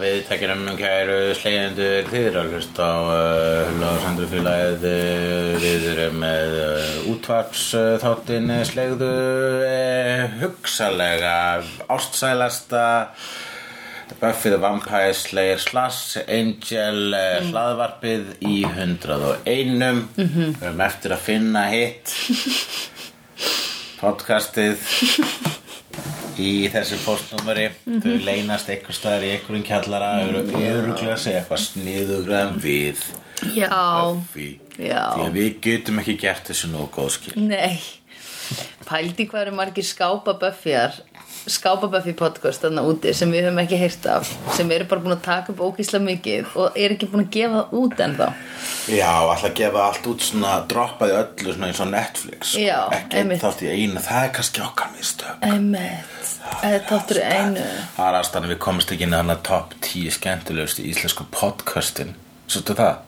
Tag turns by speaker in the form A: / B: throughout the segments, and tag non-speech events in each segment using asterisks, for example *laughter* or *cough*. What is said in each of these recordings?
A: við tekjum kæru slegjendur þið eru að hlusta á uh, Hulla og Sandur félagið uh, við erum með uh, útvarps uh, þáttinn uh, slegðu uh, hugsalega ástsælasta Buffy the Vampire Slayer Slash Angel mm. hlaðvarpið í 101 við erum eftir að finna hitt podcastið í þessu postnúmeri
B: Mhm.
A: þau leynast einhver staðar í einhverjum kjallara þau eru öruglega að segja eitthvað sniðugraðan við
B: Já,
A: því
B: Já.
A: því að við getum ekki gert þessu nógu góðskil
B: nei Pældi hvað eru margir skápaböffjar skápaböffi podcast þarna úti sem við höfum ekki heyrt af sem eru bara búin að taka upp ógísla mikið og eru ekki búin að gefa það út ennþá
A: Já, alltaf að gefa allt út svona droppaði öllu svona eins og Netflix sko.
B: Já,
A: ekki einn
B: einmitt.
A: þátt í einu, það er kannski okkar mistök
B: Emmett, þetta þáttur í einu
A: Það er aðstæðan við komumst ekki inn að hana top 10 skemmtilegust í íslensku podcastin Sjóttu það?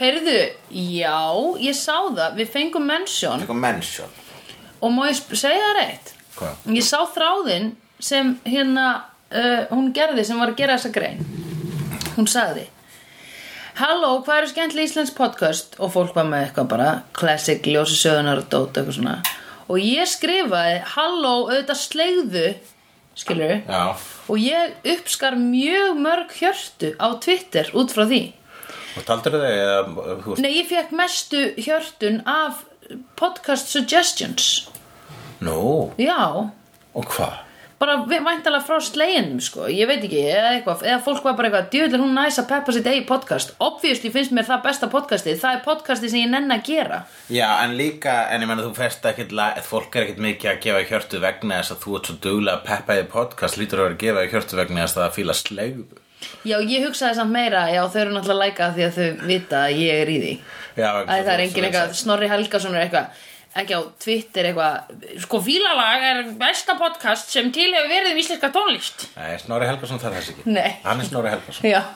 B: Heyrðu, já, ég sá það við fengum mention
A: Eitthvað mennsjón
B: og má ég sp- segja það reitt
A: Hvað?
B: ég sá þráðinn sem hérna uh, hún gerði sem var að gera þessa grein hún sagði Halló, hvað eru skemmtileg íslensk podcast og fólk var með eitthvað bara classic, ljósi sögunar og dót eitthvað svona og ég skrifaði Halló, auðvitað slegðu skilur
A: Já
B: og ég uppskar mjög mörg hjörtu á Twitter út frá því
A: Og taldur þau eða þú veist
B: Nei, ég fekk mestu hjörtun af podcast suggestions
A: Nú,
B: Já,
A: og hvað?
B: bara væntalega frá slegjanum sko, ég veit ekki, eða eitthvað eða fólk var bara eitthvað, djöðlega hún næs að peppa sitt eigi podcast, obviously finnst mér það besta podcastið það er podcastið sem ég nenn að gera
A: Já, en líka, en ég menna þú fest ekkit la- fólk er ekkit mikið að gefa í hjörtu vegna þess að þú ert svo duglega að peppa í podcast lítur að vera að gefa í hjörtu vegna þess að það fíla slegðu
B: já, ég hugsaði samt meira, já, þau eru náttúrulega læka því að þau vita að ég er í því
A: Já, vegna
B: að
A: þess
B: það er
A: þú-
B: engin eitthvað, Snorri Helgason er eitthvað ekki á Twitter eitthvað sko, Fílalag er besta podcast sem til hefur verið um íslenska tónlist
A: Nei, Snorri Helgason þarf þess ekki
B: Nei.
A: Hann er Snorri Helgason
B: já, *laughs*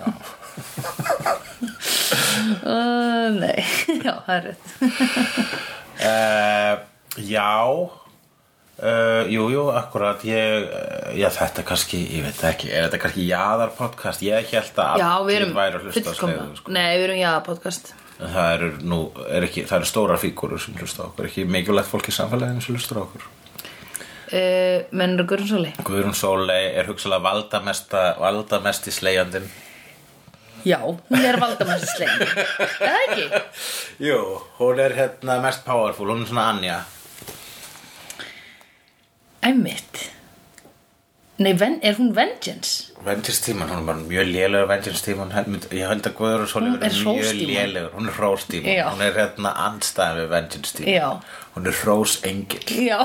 B: uh, nei, *laughs* já, það er rétt
A: Uh, já uh, Jú, jú, akkurat ég, uh, Já, þetta er kannski, ég veit það ekki Er þetta kannski jaðar podcast? Ég held að
B: Já, við
A: allir
B: erum
A: væru að hlusta á
B: fullkomna.
A: slegðu, sko.
B: Nei, við erum jaðarpodcast
A: En Það eru nú, er ekki, það eru stóra fígurur sem hlusta á okkur Ekki mikilvægt fólk í samfélaginu sem hlusta á okkur
B: uh, Mennur og Guðrúnsóli
A: Guðrún Sólei er hugsalega valdamesta Valdamesti slegjandinn
B: Já, hún er valdamæstislein Eða ekki?
A: Jú, hún er hérna mest powerful Hún er svona Anja
B: Æmitt Nei, ven, er hún Vengeance?
A: Vengeance tíman, hún er bara mjög lélegur Vengeance tíman, ég held að Guður og Sólíf
B: Hún er
A: eru mjög
B: Hrós-tíman.
A: lélegur hún er hrós tíman,
B: Já.
A: hún er hérna andstæðan við Vengeance
B: Já.
A: tíman, hún er hrós engil
B: Já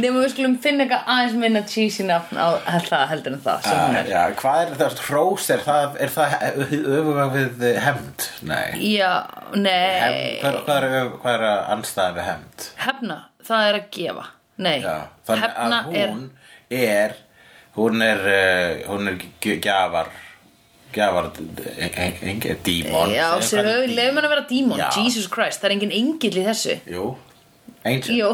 B: Nei, við skulum finna eitthvað aðeins minna cheesy nafn á það heldur en það sem hún
A: Ah,
B: er
A: Já, hvað er það, hrós er það, er það öfugan við hemd? Nei,
B: Já,
A: hemd,
B: nei
A: hvað, hvað, er, öf- hvað er andstæðan við hemd?
B: Hefna, það er að gefa Nei,
A: Já, þannig
B: hefna
A: að hún er, hún er, uh, hún er gj- gjafar, gjafar, engil, dímon
B: er Já,
A: Segðu
B: sér
A: hvað er
B: höfðu, leiðum hann að vera dímon
A: Já.
B: Jesus Christ, það er engin engill í þessu
A: dí- Jú, angel
B: Jú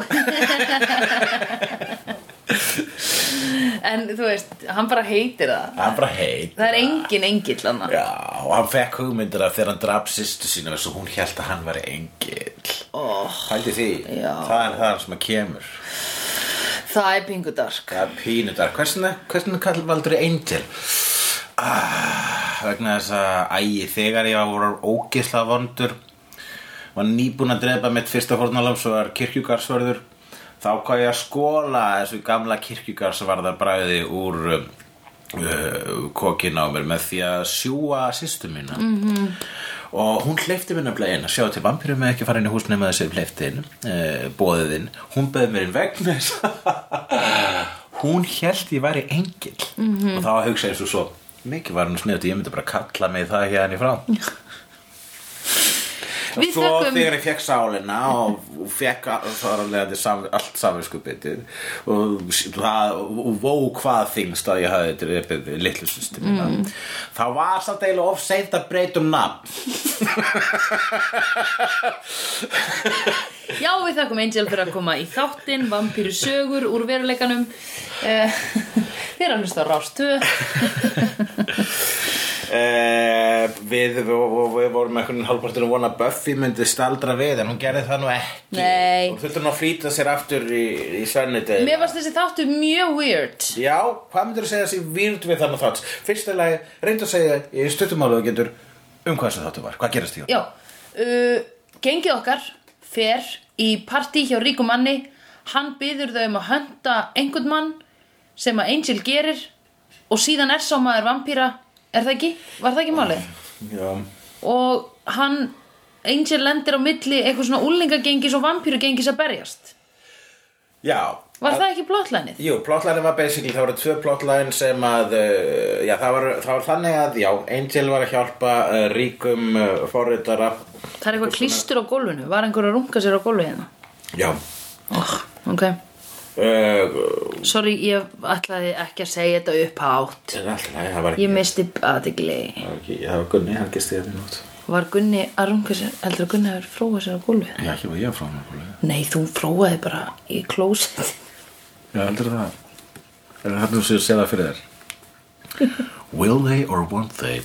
B: En þú veist, hann bara heitir það
A: Það er bara heit
B: Það er engin engill hann
A: Já, og hann fekk hugmyndir að þegar hann draf sýstu sína þess að hún held að hann var engill
B: oh,
A: Hældi því,
B: Já.
A: það er það sem að kemur
B: Það er pingu dark
A: Það er pínudar, hversna, hversna kallar valdur engil? Ah, vegna þess að ægi þegar ég var ógisla vondur var nýbúin að drepa mitt fyrsta fórnalam svo var kirkjugarsvörður þá hvað ég að skóla þessu gamla kirkjugarsvarða bræði úr um, uh, kokkin á mér með því að sjúa sýstu mína -hmm. og hún hleyfti mér nefnilega inn að sjá til vampirum með ekki fara inn í hús nema þessi hleyfti inn uh, bóðið inn, hún beði mér inn vegna þess að hún held ég væri engill -hmm. og þá hugsaði ég svo svo mikið var hann sniðut, ég myndi bara kalla mig það hérna í frá
B: Við
A: svo
B: þökkum-
A: þegar ég fekk sálina og og fekk a- þar af leiðandi sam- allt samvinskupitið og, það- og vó hvað þingst að ég hafði þetta reypið litlu sýstu mína
B: Mm.
A: þá var samt eiginlega of seint að breyta um
B: *laughs*
A: nafn
B: Já, við þakkum Angel fyrir að koma í þáttinn, vampíru sögur úr veruleikanum. Eh, *laughs* Þið er að hlusta á rástu.
A: Eh, við, við, við, við vorum einhvern hálfpartur að vona að Buffy myndi staldra við en hún gerði það nú ekki
B: Nei.
A: og þurfti nú að flýta sér aftur í, í sönnudegi
B: Mér varst þessi þáttu mjög weird.
A: Já, hvað myndir þú segja þessi výrd við þannig þátt? Fyrsta lagi, reyndu að segja í stuttumálu og getur um hvað þessi þáttu var, hvað gerast í hún?
B: Já, uh, gengið okkar fer í partí hjá ríkum manni. Hann byður þau um að hönda einhvern mann sem að Angel gerir og síðan er sá maður vampíra. Er það ekki? Var það ekki málið?
A: Já,
B: og hann Angel lendir á milli eitthvað svona úlingagengis og vampýrugengis að berjast
A: Já.
B: Var það ekki blottlænið?
A: Jú, plotlænin var basically, það voru tvö plotlæn sem að, uh, já, það var, það var þannig að, já, Angel var að hjálpa uh, ríkum uh, forritara
B: Það er eitthvað klístur á gólfinu, var einhver að runga sér á gólfi hérna?
A: Já
B: Oh, ok,
A: uh,
B: sorry, ég ætlaði ekki að segja þetta upp hátt
A: Það er alltaf læg, það var ekki,
B: Ég misti aðegli
A: það var ekki, það var Gunni, hann gisti hérna þetta nút
B: Var Gunni að runga sér, heldur að Gunni hefur fróað sér á gólfi?
A: Já, ekki var ég að frá hann Já,
B: Nei, þú fróaði bara í klósett
A: heldur það Er það hann sem sé það fyrir þér? Will they or won't they?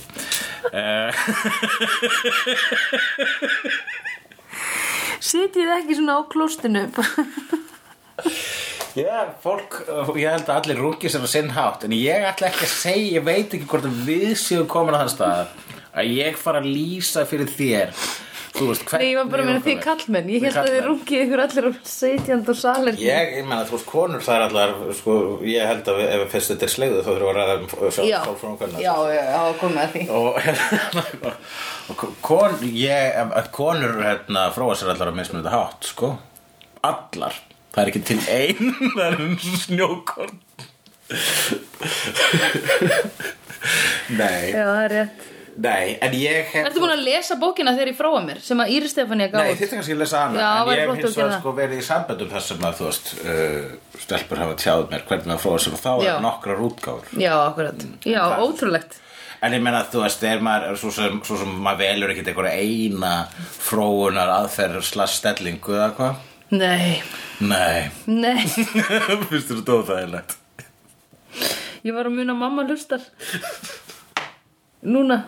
B: Setjið ekki svona á klóstinu
A: Já, fólk, ég held að allir rúki sem að sinn hátt, en ég ætla ekki að segja, ég veit ekki hvort að við séum komin að þann stað að ég fara að lýsa fyrir þér, þú veist, hvernig...
B: Nei, ég var bara að meina því kallmenn Ég held að þið rungið ykkur allir á setjand og salir
A: Ég, ég meina, þú veist, konur það er allar, sko, ég held að ef fyrst þetta er slegðu þá þurfum við að ræða um
B: já,
A: sjálf frá hvernig.
B: já, já, já, komið að því
A: Og, *laughs* og kon, ég, að konur, hérna, fróa sér allar að mismunita hátt, sko, allar. Það er ekki til ein, *laughs* það er um snjókorn. Nei.
B: Já, það er rétt
A: Nei, en ég hef
B: Ertu búin að lesa bókina þegar ég fróa mér sem að Íri Stefania gaf
A: Nei,
B: út?
A: þetta kannski að lesa hana
B: Já,
A: En
B: væri
A: ég
B: flott
A: hef
B: að
A: hins
B: gera
A: vegar
B: það.
A: sko verið í samböndum þar sem að þú veist uh, Stelpur hafa tjáð mér hvernig að fróa sér og þá
B: Já.
A: er nokkrar útgáfur
B: Já, akkurat Já,
A: Það-
B: ótrúlegt
A: En ég meina þú veist, er maður, svo sem, svo sem maður velur ekkert einhverja eina fróunar aðferður slags stellingu eða hvað
B: Nei,
A: Nei, *laughs*
B: nei
A: finnst þú þetta óþægilegt
B: Ég var að muna að mamma hlustar Núna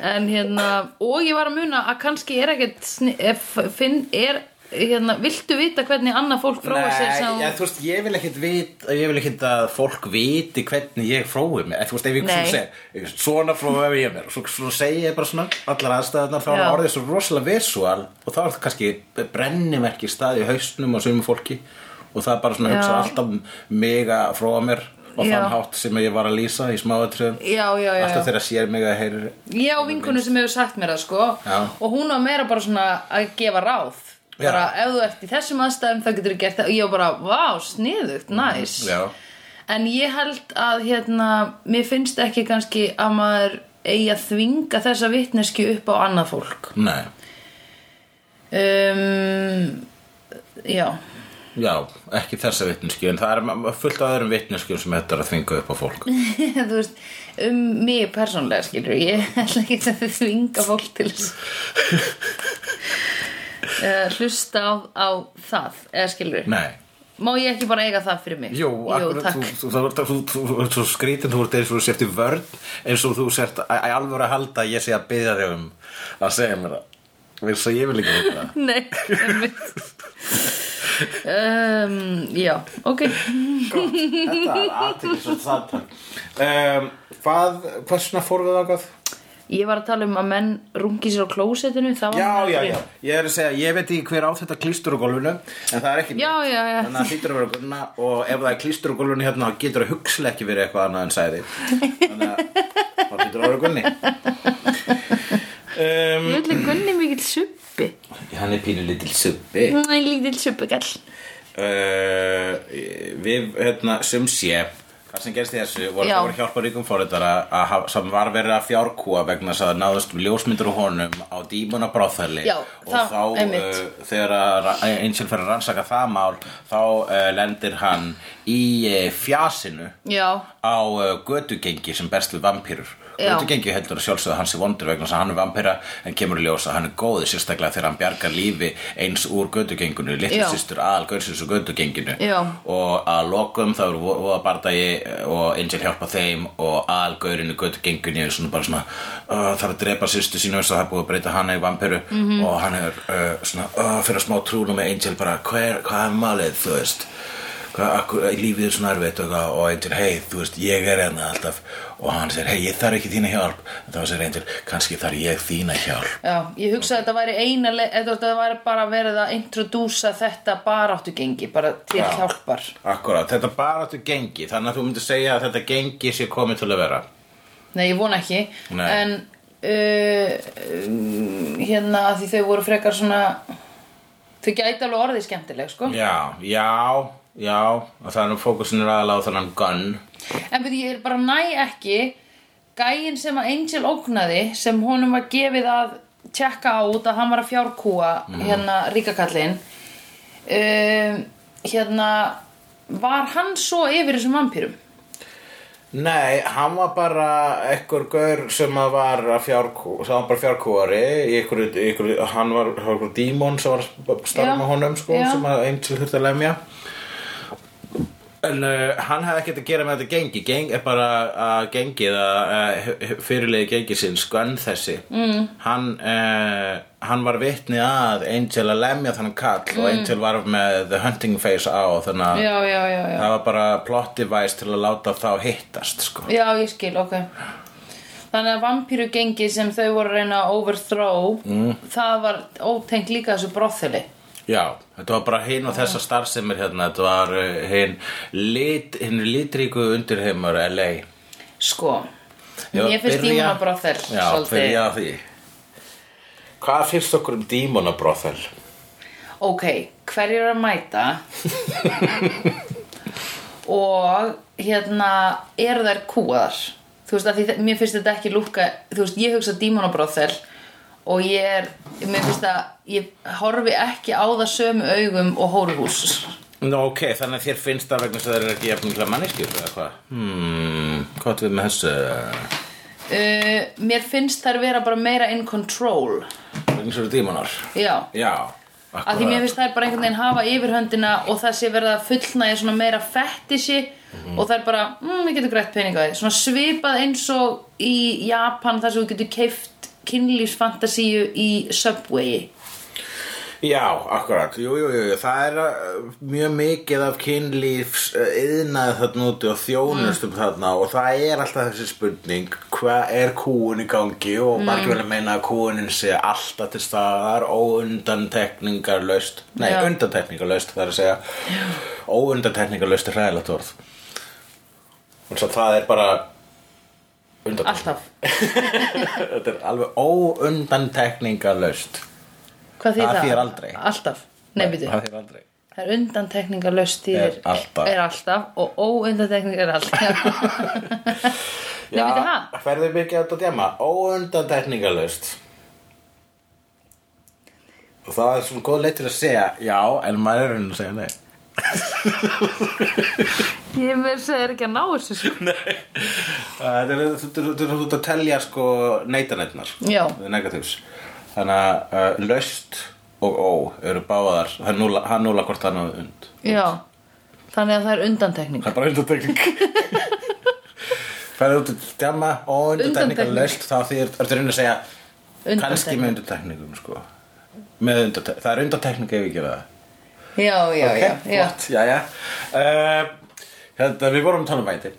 B: En hérna Og ég var að muna að kannski er ekkert sni- eh, f- Finn er hérna, Viltu vita hvernig annað fólk fróa sér
A: Nei,
B: sem
A: já, þú veist, ég vil ekkit vit ég vil ekkit að fólk viti hvernig ég frói mér, En þú veist, ef ég
B: Nei.
A: svona segir svona frói ég mér, svo, svo segi ég bara svona allar aðstæðarnar, þá er
B: Já.
A: orðið svo rosalega visual og þá er það kannski brennimerki stað í hausnum á sömu fólki og það er bara svona
B: Já.
A: hugsa alltaf mig að fróa mér og
B: Já.
A: þann hátt sem ég var að lýsa í smáatriðum
B: Já, já, já, já.
A: alltaf þegar sér mig að heyri
B: Ég á vinkonu sem hefur sagt mér það sko
A: Já.
B: og hún var meira bara svona að gefa ráð
A: Já.
B: bara ef þú ert í þessum aðstæðum þá getur þú gert það og ég var bara, vá, sniðugt, næs
A: Já.
B: en ég held að hérna, mér finnst ekki kannski að maður eigi að þvinga þessa vitneski upp á annað fólk
A: Nei,
B: um, Já, *laughs*
A: já, ekki þessa vitneskju en það er fullt af öðrum vitneskjum sem þetta er að þvinga upp á fólk
B: *laughs* þú veist um mig persónlega skilur ég *laughs* ætla ekki að þvinga fólk til
A: *laughs*
B: þess uh, hlusta á, á það eða skilur
A: Nei
B: Má ég ekki bara eiga það fyrir mig?
A: Jú, akkurat,
B: takk.
A: þú, þú, þú, þú, þú, þú ert svo skrítin, þú ert eins og þú sért í vörn eins og þú sért að að alvöru að halda að ég sé að byggja þig um að segja mér það eins og ég vil ekki veit það
B: *laughs* Nei, einmitt.
A: *laughs*
B: um, já, ok.
A: Þetta er aðtækis og samtal Hvað, hversna fór við ákvað?
B: Ég var að tala um að menn rungi sér á klósettinu, það var...
A: Já, já, já, ég er að segja, ég veit ekki hver á þetta klístur á gólfinu en það er ekki
B: Já, já, já.
A: Þannig að það hlýtur að vera gunna og ef það er klístur á gólfinu hérna þá getur það hugslega ekki verið eitthvað annað en sæði Þannig að það hlýtur að vera gunni
B: *laughs*
A: um,
B: Ég ætla gunni mikill suppi.
A: Hann er pínu lítil subbi
B: Það er lítill suppigall.
A: Eh, uh, Við, hérna, sem sé Það sem gerst í þessu voru,
C: Já.
A: voru hjálparíkum fóriðara að hafa- sem var verið að fjárkúa vegna þess að náðust ljósmyndur á honum á dímuna bráþæli
C: Já,
A: og
C: það-
A: þá
C: einmitt.
A: uh, þegar að ra- Angel fyrir að rannsaka það mál þá uh, lendir hann í uh, fjasinu
C: Já,
A: á uh, götugengi sem berst við vampýrur
C: Já.
A: götugengi heldur að sjálfsögðu hans í vondur vegna þess að hann er vampýra en kemur í ljós að hann er góði sérstaklega þegar hann bjargar lífi eins úr götugenginu litlu
C: Já.
A: systur aðal gaursins úr götugenginu
C: Já.
A: og að lokum þá eru voða bardagi og Angel hjálpa þeim og aðal gaurin í götugenginu er svona bara svona uh, þarf að drepa systur sínu þess að það er búið að breyta hana í vampýru -hmm. og hann er uh, svona uh, fyrir smá trúnum með Angel bara hver, hvað er málið þú veist hvað, akkur, lífið er svona erfitt og, eitthvað, og Angel, hei, þú veist, ég er hérna alltaf og hann segir, hei, ég þarf ekki þína hjálp en þá segir Angel, kannski þarf ég þína hjálp
C: já, ég hugsaði að þetta væri eina leið, eða þú veist, það væri bara verið að introdúsa þetta baráttugengi, bara til
A: Já.
C: hjálpar.
A: Akkurat, þetta bara áttu gengi þannig að þú myndir segja að þetta gengi sé komið til að vera
C: Nei, ég vona ekki,
A: Nei.
C: en uh, um, hérna að því þau voru frekar svona, þau gæti alveg orðið skemmtileg, sko.
A: Já, já, já og það er nú fókusin er aðalega á þannan gun
C: En byrju, ég er bara næ ekki, gæinn sem að Angel ógnaði, sem honum var gefið að tjekka á út að hann var að fjárkúa, hérna, ríkakallinn, um, hérna, var hann svo yfir þessum vampýrum?
A: Nei, hann var bara ekkur gaur sem að var að fjárkú, sem var bara fjárkúari í ykkur, í ykkur, hann var, hann var ykkur dímon sem var að starfa
C: Já,
A: með honum sko,
C: já.
A: sem að einn til þurfti að lemja En uh, hann hefði ekkert að gera með þetta gengi Geng er bara að gengið að uh, fyrirlegi gengi sinn skönn þessi mm. hann, uh, hann var vitni að Angel að lemja þannig kall
C: Mm.
A: og Angel var með the hunting face á þannig að
C: Já, já, já, já.
A: Það var bara plot device til að láta þá hittast sko.
C: Já, ég skil, ok Þannig að vampírugengi sem þau voru að reyna að overthrow það var ótengt líka þessu brotheli
A: Já, þetta var bara hinn og þessa starfsemir hérna, þetta var uh, hinn lit, hinn litríku undirheimur LA.
C: Sko,
A: Ég var
C: mér
A: byrja-
C: finnst dímona brothel
A: Já, byrja á því. Hvað finnst okkur um dímonabrothel?
C: Ok, hverjir eru að mæta og hérna eru þær kúaðar þú veist að því þe- mér finnst þetta ekki lúka þú veist ég hugsa dímonabróþel og ég er, mér finnst að ég horfi ekki á það sömu augum og hóruhús
A: Nú ok, þannig að þér finnst það vegna sem þeir eru ekki jafnilega manneskjur eða hvað? Hmm, hvað áttu við með þessu?
C: uh, mér finnst þær vera bara meira in control
A: Vegna sem eru dímonar?
C: já,
A: Já,
C: að því mér finnst þær bara einhvern veginn hafa yfirhöndina og það sé verið að fullnægja svona meira fettisi
A: Mhm.
C: og þær bara, mm, við getum grætt peninga á því svona svipað eins og í Japan þar sem við getum keift kynlífsfantasíu í Subwayi
A: Já, akkurat, jú, jú, jú, það er uh, mjög mikið af kynlífs uh, yðnaði þarna úti og þjónustum
C: Mm.
A: þarna og það er alltaf þessi spurning hvað er kúin í gangi og
C: Mm.
A: margir vel að meina að kúinin sé alltaf til staðar óundantekningarlaust nei,
C: Já.
A: undantekningarlaust það er að segja óundantekningarlaust er hræðilegt orð og svo það er bara undantekning
C: alltaf,
A: þetta er alveg óundantekningarlaust
C: hvað því
A: Það
C: það?
A: þýðir aldrei.
C: alltaf, nei býtu
A: það er aldrei
C: það er undantekningarlaust því
A: Er alltaf.
C: er alltaf og óundantekningar er alltaf *laughs* nei býtu það
A: ferðu mikið átt að djama óundan tekningalust og það er svona góð leitt til að segja já, en maður er raunin að segja nei
C: ég verð að segja ekki að ná þessu sko
A: þetta er þetta er- þetta er út að telja sko neitanætnar
C: Já.
A: negativs þannig að uh, löst og ó eru báðar það núla, það núla hvort það náðu und
C: Já, þannig að það er undantekning
A: það er bara undan tekning ferðu út að djama óundan tekningalust þá því er þetta raunin að segja kannski með undantekningum sko með undantekningum, það er undantekning ef ég gera það
C: Já, já, já, já
A: flott, já, já uh, hérna, við vorum að tala um væti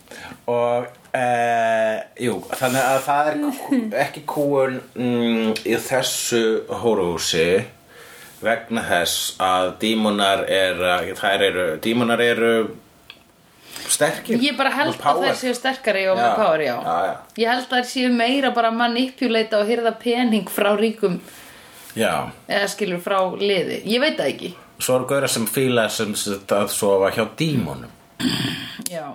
A: og uh, jú, þannig að það er kú- ekki kúun mm, í þessu hóruhúsi vegna þess að dímonar er eh, þær eru, dímonar eru sterkir
C: Ég bara held
A: og
C: að
A: power.
C: þær séu sterkari og með
A: Já,
C: power, já.
A: já, já.
C: Ég held að þær séu meira bara manipuleita og hyrða pening frá ríkum
A: já,
C: eða skilur frá liði Ég veit það ekki
A: svo eru gauðra sem fíla sem sagt að sofa hjá dímonum
C: Já,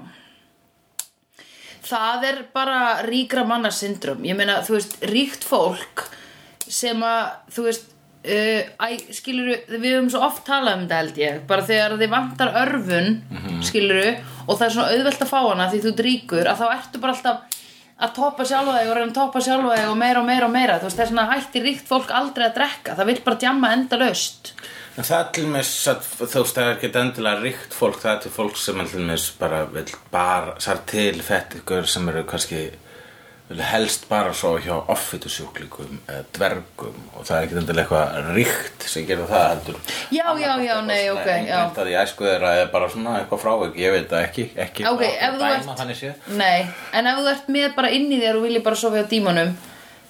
C: það er bara ríkra manna syndrom ég meina, þú veist, ríkt fólk sem að, þú veist uh, æ, skiluru, við höfum svo oft talað um þetta held ég, bara þegar þið vantar örfun, mm skiluru og það er svona auðvelt að fá hana því þú dríkur að þá ertu bara alltaf að toppa sjálfa þig og reyna að toppa sjálfa þig og meira og meira og meira, þú veist, þess vegna hættir ríkt fólk aldrei að drekka, það vil bara djamma endalaust
A: En það er til með að þú veist það er ekki endilega ríkt fólk, það er til fólk sem er til með bara vil bara, sær til fett ykkur sem eru kannski vil helst bara svo hjá offitusjúklingum eða dvergum og það er ekki endilega eitthvað ríkt sem gerir það heldur.
C: Já, já, já, nei, ok, já.
A: Það er í æsku þeirra eða bara svona eitthvað frávik, ég veit það ekki, ekki
C: Ok,
A: frá-
C: ef þú
A: dæma
C: ert-
A: þannig séð.
C: Nei, en ef þú ert með bara inn í þér og vilji bara sofa hjá dímonum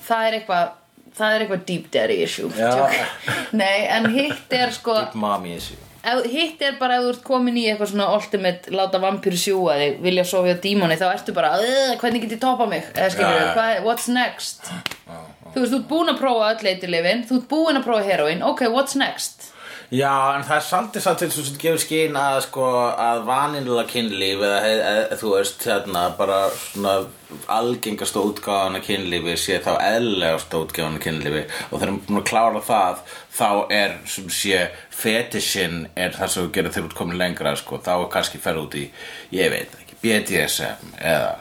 C: það er eitthvað það er eitthvað deep daddy issue
A: Já.
C: Joke. Nei, en hitt er sko
A: Deep mommy issue.
C: ef, hitt er bara ef þú ert komin í eitthvað svona ultimate láta vampíru sjúa þig, vilja sofa hjá dímoni þá ertu bara, "Ugh, hvernig get ég topa mig eða skilur
A: Já, já.
C: hvað, what's next þú veist, þú ert búin að prófa öll eiturlifin þú ert búin að prófa heroin, ok, what's next
A: Já, en það er svolítið svolítið svo sem gefur skyn að sko að vaninlega kynlíf eða, eða þú veist hérna bara svona algengasta útgáðan að kynlífi sé þá eðlegasta útgáðan að kynlífi og þegar maður búin að klára það þá er sem sé fetishin er það sem þú gerir þegar þú ert komin lengra sko þá er kannski fer út í ég veit ekki, BDSM eða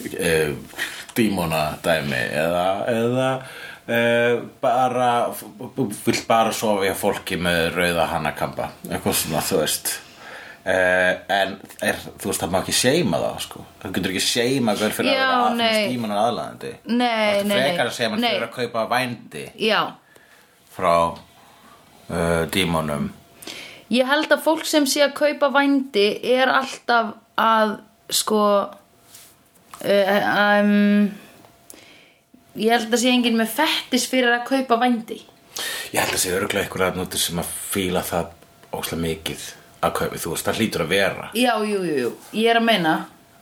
A: e, dímona dæmi eða, eða e, bara vill bara sofa hjá fólki með rauða hannakamba eitthvað svona þú veist e, en er, þú veist það má ekki seima það sko það getur ekki seima hver fyrir
C: Já,
A: að vera aðfinnst
C: nei.
A: dímona aðlaðandi
C: Nei, nei, nei.
A: frekar að seima
C: Nei.
A: fyrir að kaupa vændi
C: já,
A: frá uh, dímonum
C: Ég held að fólk sem sé að kaupa vændi er alltaf að sko uh, um, ég held að sé enginn með fettis fyrir að kaupa vændi
A: Ég held að sé örgulega einhver að núti sem að fíla það óslega mikið að kaupi, þú veist, það hlýtur að vera
C: Já, jú, jú, jú, ég er að meina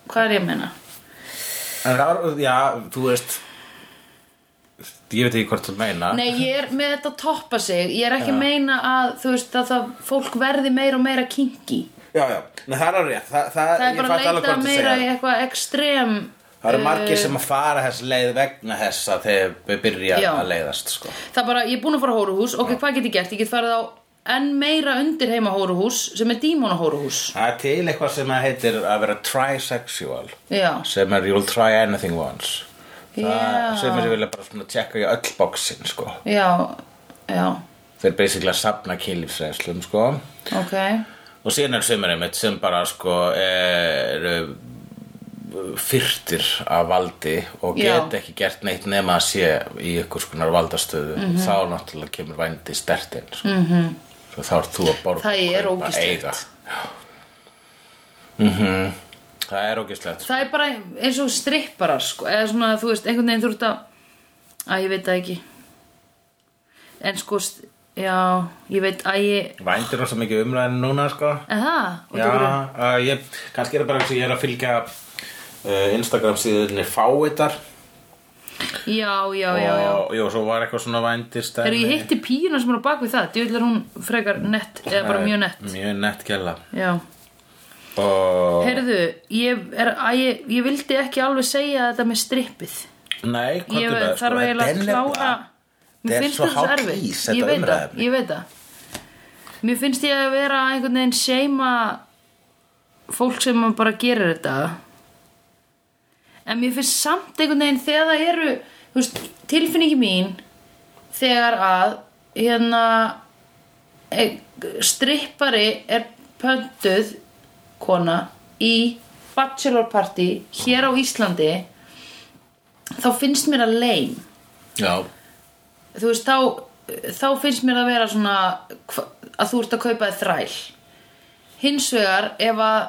C: Hvað er ég að meina?
A: En rá- Já, þú veist Ég veit ekki hvort þú meina
C: Nei, ég er með þetta að toppa sig Ég er ekki að meina að, þú veist, að það fólk verði meira og meira kinky
A: Já, já, Nei, það er alveg rétt Það, það, ég
C: Það er bara
A: fatt alveg
C: að leita
A: hvort þú
C: meira
A: segir.
C: í eitthvað ekstrem
A: Það eru margir sem að fara þess leið vegna þess að þeir við byrja
C: Já.
A: að leiðast sko.
C: það er bara, ég er búin að fara á hóruhús ok, hvað get ég gert? Ég get farið á enn meira undir heima hóruhús sem er dímona hóruhús
A: Það er til eitthvað sem að heitir að vera trisexual
C: já,
A: sem er you'll try anything once Það
C: Já.
A: sem er vilja bara svona tjekka í öll boxin sko.
C: já, já
A: Þeir basically að safna kýlífsreslum sko.
C: ok,
A: og síðan er sömur einmitt sem bara sko er fyrtir af valdi og
C: Já.
A: get ekki gert neitt nema að sé í ykkur skonar valdastöðu
C: Mhm.
A: þá náttúrulega kemur vændi stertinn sko. mm -hmm. svo þá ert þú að borga
C: Það er
A: kaupa,
C: ógeðslegt.
A: eiga. Já. Mhm. það er ógislegt
C: það er bara eins og stripparar sko, eða svona, þú veist, einhvern veginn þú ert að að ég veit það ekki en sko st- já, ég veit að ég
A: Vændir rosa mikið umræðin núna sko
C: eða, og
A: Já,
C: þú verður
A: uh, ég, kannski er það bara eins og ég er að fylgja uh, Instagram síðunni fáitar
C: já, já, já, já
A: og jú, svo var eitthvað svona vændist
C: Þegar ég hitti píuna sem er á bak við það, djúvill er hún frekar nett, eða bara mjög nett.
A: Eh, Mjög nett gæla
C: Já.
A: og...
C: Heyrðu, ég, er, að ég, ég vildi ekki alveg segja þetta með strippið.
A: Nei, hvað sko,
C: Ég þarf eiginlega að klára...
A: þetta
C: Mér
A: er
C: finnst
A: svo
C: þetta svo
A: hot
C: erfitt.
A: piece, þetta
C: ég veit það,
A: umræðuefni.
C: ég veit það. Mér finnst ég að vera einhvern veginn seima fólk sem bara gerir þetta. En mér finnst samt einhvern veginn þegar það eru, þú veist, tilfinningi mín þegar að, hérna, e- strippari er pöntuð kona í bachelor party hér á Íslandi þá finnst mér að leim
A: Já,
C: þú veist, þá, þá finnst mér að vera svona hva- að þú ert að kaupa þér þræl hins vegar ef að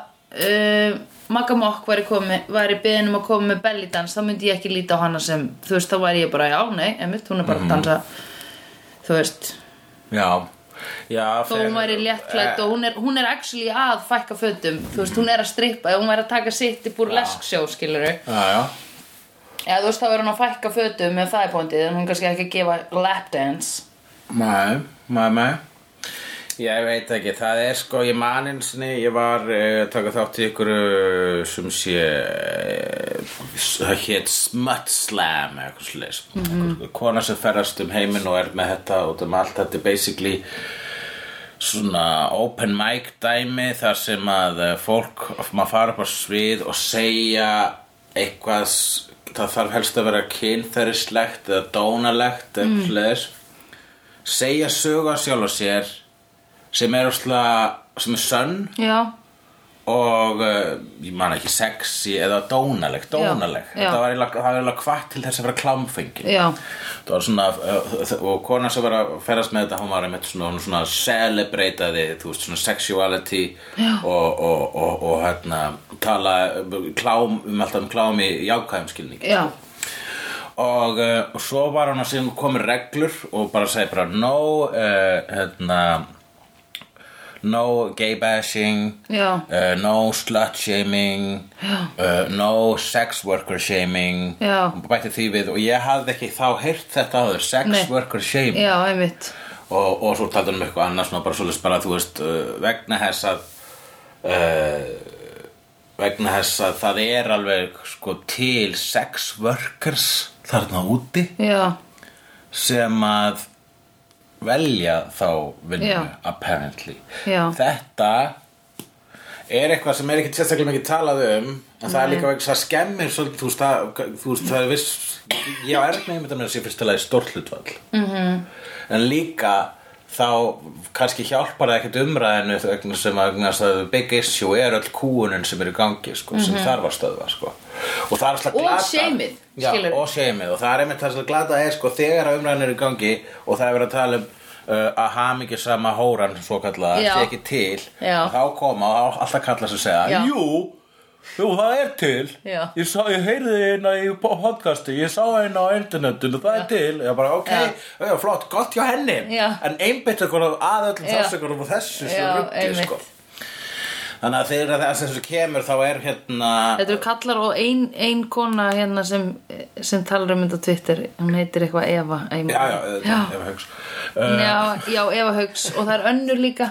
C: uh, Magga Mokk væri, komi, væri beðin um að koma með belly dance þá myndi ég ekki líta á hana sem þú veist, þá væri ég bara, já, nei, emitt, hún er bara að dansa þú veist
A: já Já, Eh,
C: þó hún væri léttklætt og hún er, hún er actually að fækka fötum, þú veist, hún er að strippa ef hún væri að taka sitt í burlesk sjó, skilur við
A: Já, já
C: eða þú veist, þá er hún að fækka fötum ef það er bóndið, en hún er kannski ekki að gefa lap dance
A: Mæ, mæ, mæ Ég veit ekki, það er sko, ég man einsni, ég var eh, að taka þátt í ykkur eh, sem sé eh, það hétt Smut Slam eða eitthvað slags kona sem ferðast um heiminn og er með þetta og um allt þetta er basically svona open mic dæmi þar sem að eh, fólk maður fara upp á svið og segja eitthvað s- það þarf helst að vera kynþerislegt eða dónalegt eða mm. slags segja sögu að sjálf og sér sem er óslega sem er sönn
C: já,
A: og uh, ég man ekki sexy eða dónaleg, dónaleg
C: Já, já.
A: það var eiginlega það var eiginlega hvað til þess að vera klámfengin
C: já,
A: það var svona uh, og kona sem var að ferast með þetta hún var einmitt svona, hún svona celebrataði þú veist svona sexuality
C: Já.
A: og, og, og, og hérna tala um klám, um alltaf um klám í jákvæðum skilningi
C: já,
A: og, uh, og svo var hann að sem komið reglur og bara segi bara no uh, hérna no gay bashing
C: Já.
A: uh, no slut
C: *gasps*
A: shaming uh, no sex worker shaming
C: Já.
A: og bætti því við og ég hafði ekki þá heyrt þetta áður sex
C: Nei.
A: worker shaming
C: já, einmitt
A: og, og svo taldi hann um eitthvað annars svona bara svolítið bara þú veist uh, vegna þess að uh, vegna þess að það er alveg sko til sex workers þarna úti
C: já,
A: sem að velja þá vinnu
C: Já.
A: apparently
C: Já.
A: þetta er eitthvað sem er ekki sérstaklega mikið talað um en það er líka vegna það skemmir svolítið, þú veist það, þú veist, það er viss ég á erfni einmitt að mér að sé fyrst til að stórt hlutvall mm -hmm.
C: Mhm.
A: en líka þá kannski hjálpar það ekkert umræðinu vegna sem að, vegna þess að big issue er öll kúunin sem er í gangi sko, sem þarf að stöðva sko. og það er alltaf
C: Mhm. Og
A: glata
C: shameið,
A: Já,
C: skilurðu.
A: og segjumið og það er einmitt það sem glata er sko þegar að umræðan er í gangi og það er verið að tala um uh, að hamingi sama hóran svo kallaða
C: Já.
A: sé ekki til
C: Já.
A: þá koma og alltaf kalla sem segja
C: Já.
A: Jú, jú, það er til
C: Já.
A: ég, sá, ég heyrði hérna í podcasti ég sá hérna á internetinu, það er til ég bara ok, já. flott, gott hjá henni
C: Já.
A: en einbytt okkur að öllum
C: Já.
A: þársökurum og þessu sem
C: Já,
A: rugli
C: einmitt.
A: sko Þannig að þegar þess að þessu kemur þá er hérna
C: Þetta eru kallar og ein, ein kona hérna sem, sem talar um þetta á Twitter hún heitir eitthvað Eva einmitt.
A: Já, já,
C: já.
A: ef að hugsa uh,
C: Já, já, Eva Hauks og það er önnur líka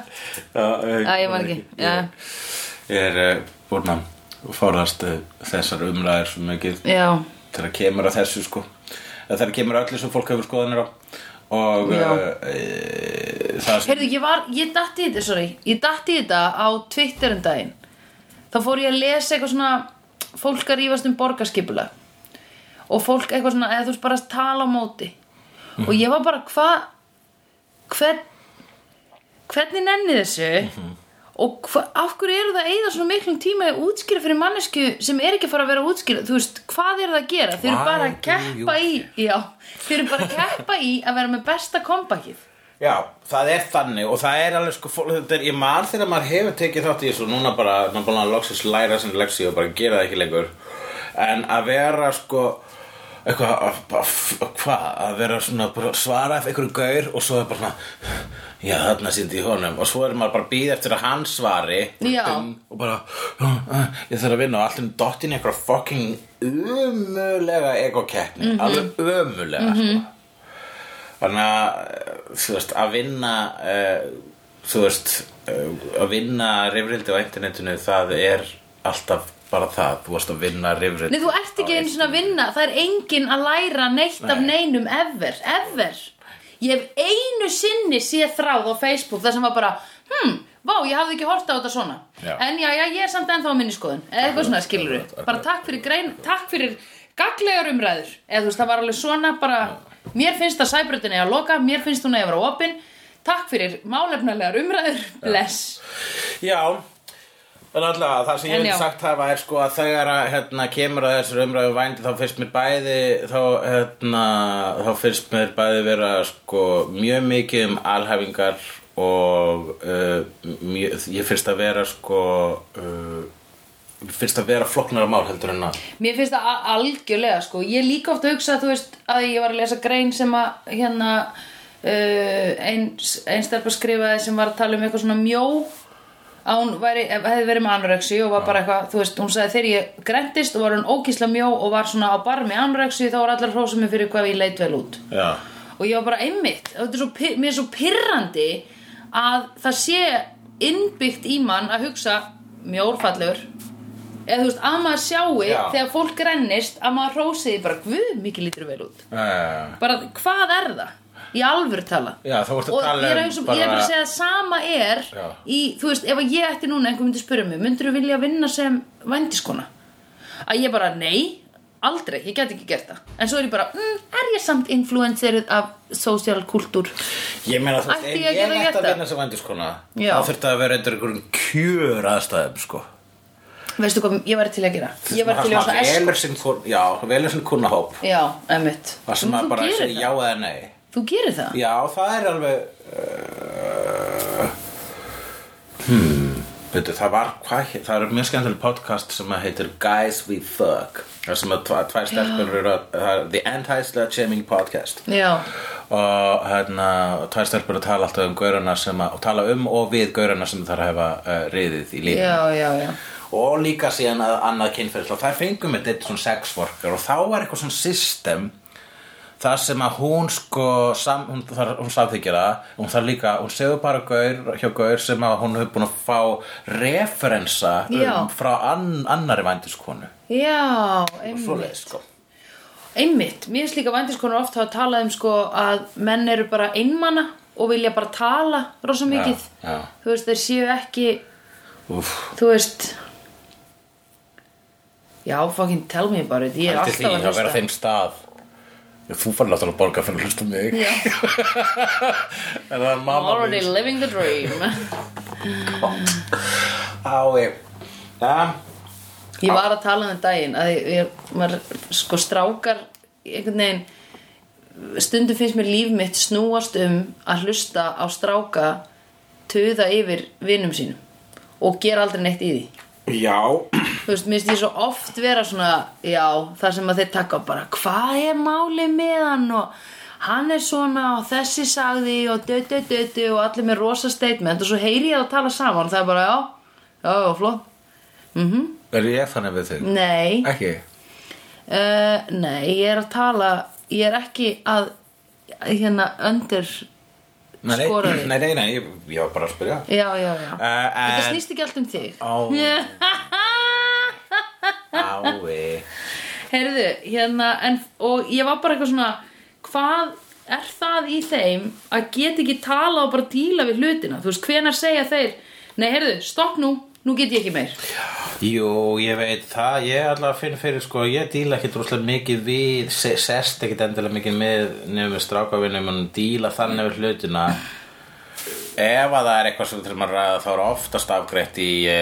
A: Já, eh,
C: Já, ég man ekki. Já.
A: Ég er uh, búinn að forðast uh, þessar umræðir svo mikið
C: Já,
A: þegar kemur að þessu sko Eða þegar kemur að öllu sem fólk hefur skoðanir á og
C: Já.
A: uh, e, það sem
C: heyrðu, ég var, ég datti í þetta, sorry Ég datti í þetta á Twitter um daginn Þá fór ég að lesa eitthvað svona Fólk að rífast um borgarskipula Og fólk eitthvað svona, eða þú veist bara að tala á móti Og ég var bara, hvað Hvern Hvernig nenni þessu Og hva, af hverju eru það að eyða svona miklum tíma að útskýra fyrir mannesku sem er ekki að fara að vera að útskýra þú veist, hvað eru það að gera? Þeir eru
A: Why
C: bara að
A: do you
C: keppa í já, þeir eru bara að keppa í að vera með besta kompakið
A: Já, það er þannig og það er alveg sko fólk, þetta er, ég man þegar maður hefur tekið þátt í þessu og núna bara, maður búin að loksins læra sem leksi og bara gera það ekki lengur en að vera sko eitthvað, að- bara f- hvað að vera svona, bara svara eftir einhverju gaur og svo er bara svona já, þarna sýndi ég honum og svo er maður bara að býða eftir að hann svari
C: Já.
A: Ding, og bara, "Ah, ah, ég þarf að vinna og allt um dottin í einhverja fucking umulega ekokeppni alveg umulega sko þannig að eh, þú veist, að vinna uh, þú veist uh, að vinna rifrildi á internetinu það er alltaf bara það þú veist að vinna rifrildi
C: Nei, þú ert ekki
A: á
C: einu svona að vinna Það er enginn að læra neitt af neinum ever, ever Ég hef einu sinni séð þráð á Facebook þar sem var bara Hmm, vá, ég hafði ekki horta á þetta svona
A: Já.
C: En já, já, ég er samt ennþá á minni skoðun Eða eitthvað svona skilur
A: akkurat, akkurat.
C: Bara takk fyrir grein, takk fyrir gaglegar umræður Eða þú veist, það var alveg svona bara Mér finnst að sæbrutin eða loka Mér finnst hún eða vera opin Takk fyrir málefnalegar umræður, bless
A: Já, en allavega það sem
C: En
A: ég vil
C: já.
A: sagt hafa er sko að þegar að hérna, kemur að þessar umræðu vændi þá finnst mér bæði þá, hérna, þá finnst mér bæði vera sko mjög mikið um alhæfingar og uh, mjög, ég finnst að vera sko uh, finnst að vera floknara mál heldur en að
C: Mér finnst það a- algjörlega sko Ég er líka ofta að hugsa þú veist að ég var að lesa grein sem að hérna uh, einstarpa skrifaði sem var að tala um eitthvað svona mjó að hún væri, ef- hefði verið með anorexíu og var bara eitthvað, þú veist, hún sagði þegar ég grentist og var hún ókísla mjó og var svona á barmi anorexíu þá var allar hrósa mig fyrir hvað ég leit vel út
A: Já,
C: og ég var bara einmitt þetta er svo, pir- mér er svo pirrandi að það sé innbyggt í mann að hugsa mjórfallegur eða þú veist, að maður sjái
A: Já.
C: þegar fólk rennist að maður hrósi því bara, guð, mikið lítur vel út
A: Uh,
C: bara, hvað er það? í alvöru tala
A: Já, þá vorstu að
C: og
A: tala
C: ég er,
A: um
C: um sem,
A: bara-
C: ég er bara að segja að sama er
A: Já.
C: í, þú veist, ef að ég ætti núna einhver myndi spyrja mig, myndir þú vilja vinna sem vændiskona? að ég bara, nei, aldrei, ég get ekki gert það en svo er ég bara, mm, er ég samt influencerið af social kultúr
A: Ég meina þú veist,
C: Ætti
A: ef
C: ég
A: ég
C: að geta
A: ætti að
C: gert
A: vinna sem vandiskona
C: Já.
A: þá þurfti að vera eitthvað einhverjum kjör aðstæðum sko
C: veistu hvað, ég væri til að gera ég væri til að
A: svona
C: svona esku
A: velur sinn kon- Já, velur sinn kunnahóp
C: já, emitt
A: Það sem að bara
C: gerir
A: segja já
C: það.
A: eða nei
C: þú gerir það
A: Já, það er alveg uh, Hmm Veitu, það var, hvað, hét- það er mjög skemmtileg podcast sem að heitir Guys We Fuck Það sem að tva- tvær stelpur eru að, það er The Anti-Slut Shaming Podcast
C: já,
A: og hérna tvær stelpur að tala alltaf um gaurana sem að, og tala um og við gaurana sem þar hefa uh, riðið í lífi
C: já, já, já.
A: og líka síðan að annað kynferðis og þær fengum þetta eitt svona sexworker og þá var eitthvað svona system þar sem að hún sko sam, hún, þar, hún samþykir það hún þar líka, hún segur bara gaur hjá gaur sem að hún hefur búin að fá referensa
C: Já.
A: um, frá ann, annari vændiskonu
C: Já,
A: svoleiðis
C: einmitt
A: sko
C: Einmitt, mér finnst líka vandiskonar oft að tala um sko að menn eru bara einmana og vilja bara tala rosa mikið
A: já.
C: Þú veist, þeir séu ekki,
A: Úff,
C: þú veist Já, fucking tell me about it, ég er
A: hælti
C: alltaf
A: því
C: að
A: að vera á
C: hlusta
A: þeim stað Þú fann náttúrulega að borga fyrir að hlusta á mig
C: Já.
A: *laughs* En það er
C: I'm
A: mamma
C: already living the *laughs* dream
A: Ái Já
C: Ég var að tala um þetta daginn að ég, ég, maður, sko strákar einhvern veginn stundum finnst mér líf mitt snúast um að hlusta á stráka töða yfir vinum sínum og gera aldrei neitt í því
A: Já,
C: þú veist, mér finnst ég svo oft vera svona já, þar sem að þeir taka bara hvað er málið með hann og hann er svona og þessi sagði og dödu dödu og allir með rosa statement og svo heyri ég það að tala saman og það er bara já, já, já, flott
A: er ég þannig við þig?
C: nei,
A: Ekki?
C: Uh, nei, ég er að tala Ég er ekki að Hérna, undir
A: Nei, nei,
C: Skoraði.
A: nei, nei, nei ég, ég var bara að spyrja
C: Já, já, já
A: Eh,
C: Þetta
A: en-
C: snýst ekki allt um þig *laughs*
A: Ó. Ái
C: Heyrðu, hérna en, Og ég var bara eitthvað svona Hvað er það í þeim Að geta ekki tala og bara díla við hlutina Þú veist, hvenær segja þeir Nei, heyrðu, stopp nú, nú get ég ekki meir
A: Jú, ég veit það, ég allavega finn fyrir sko, ég díla ekkit rússlega mikið við, se- sest ekkit endilega mikið með nefnum strákavinnum og díla þannig við hlutina Ef að það er eitthvað sem við þurfum að ræða þá er oftast afgreitt í e,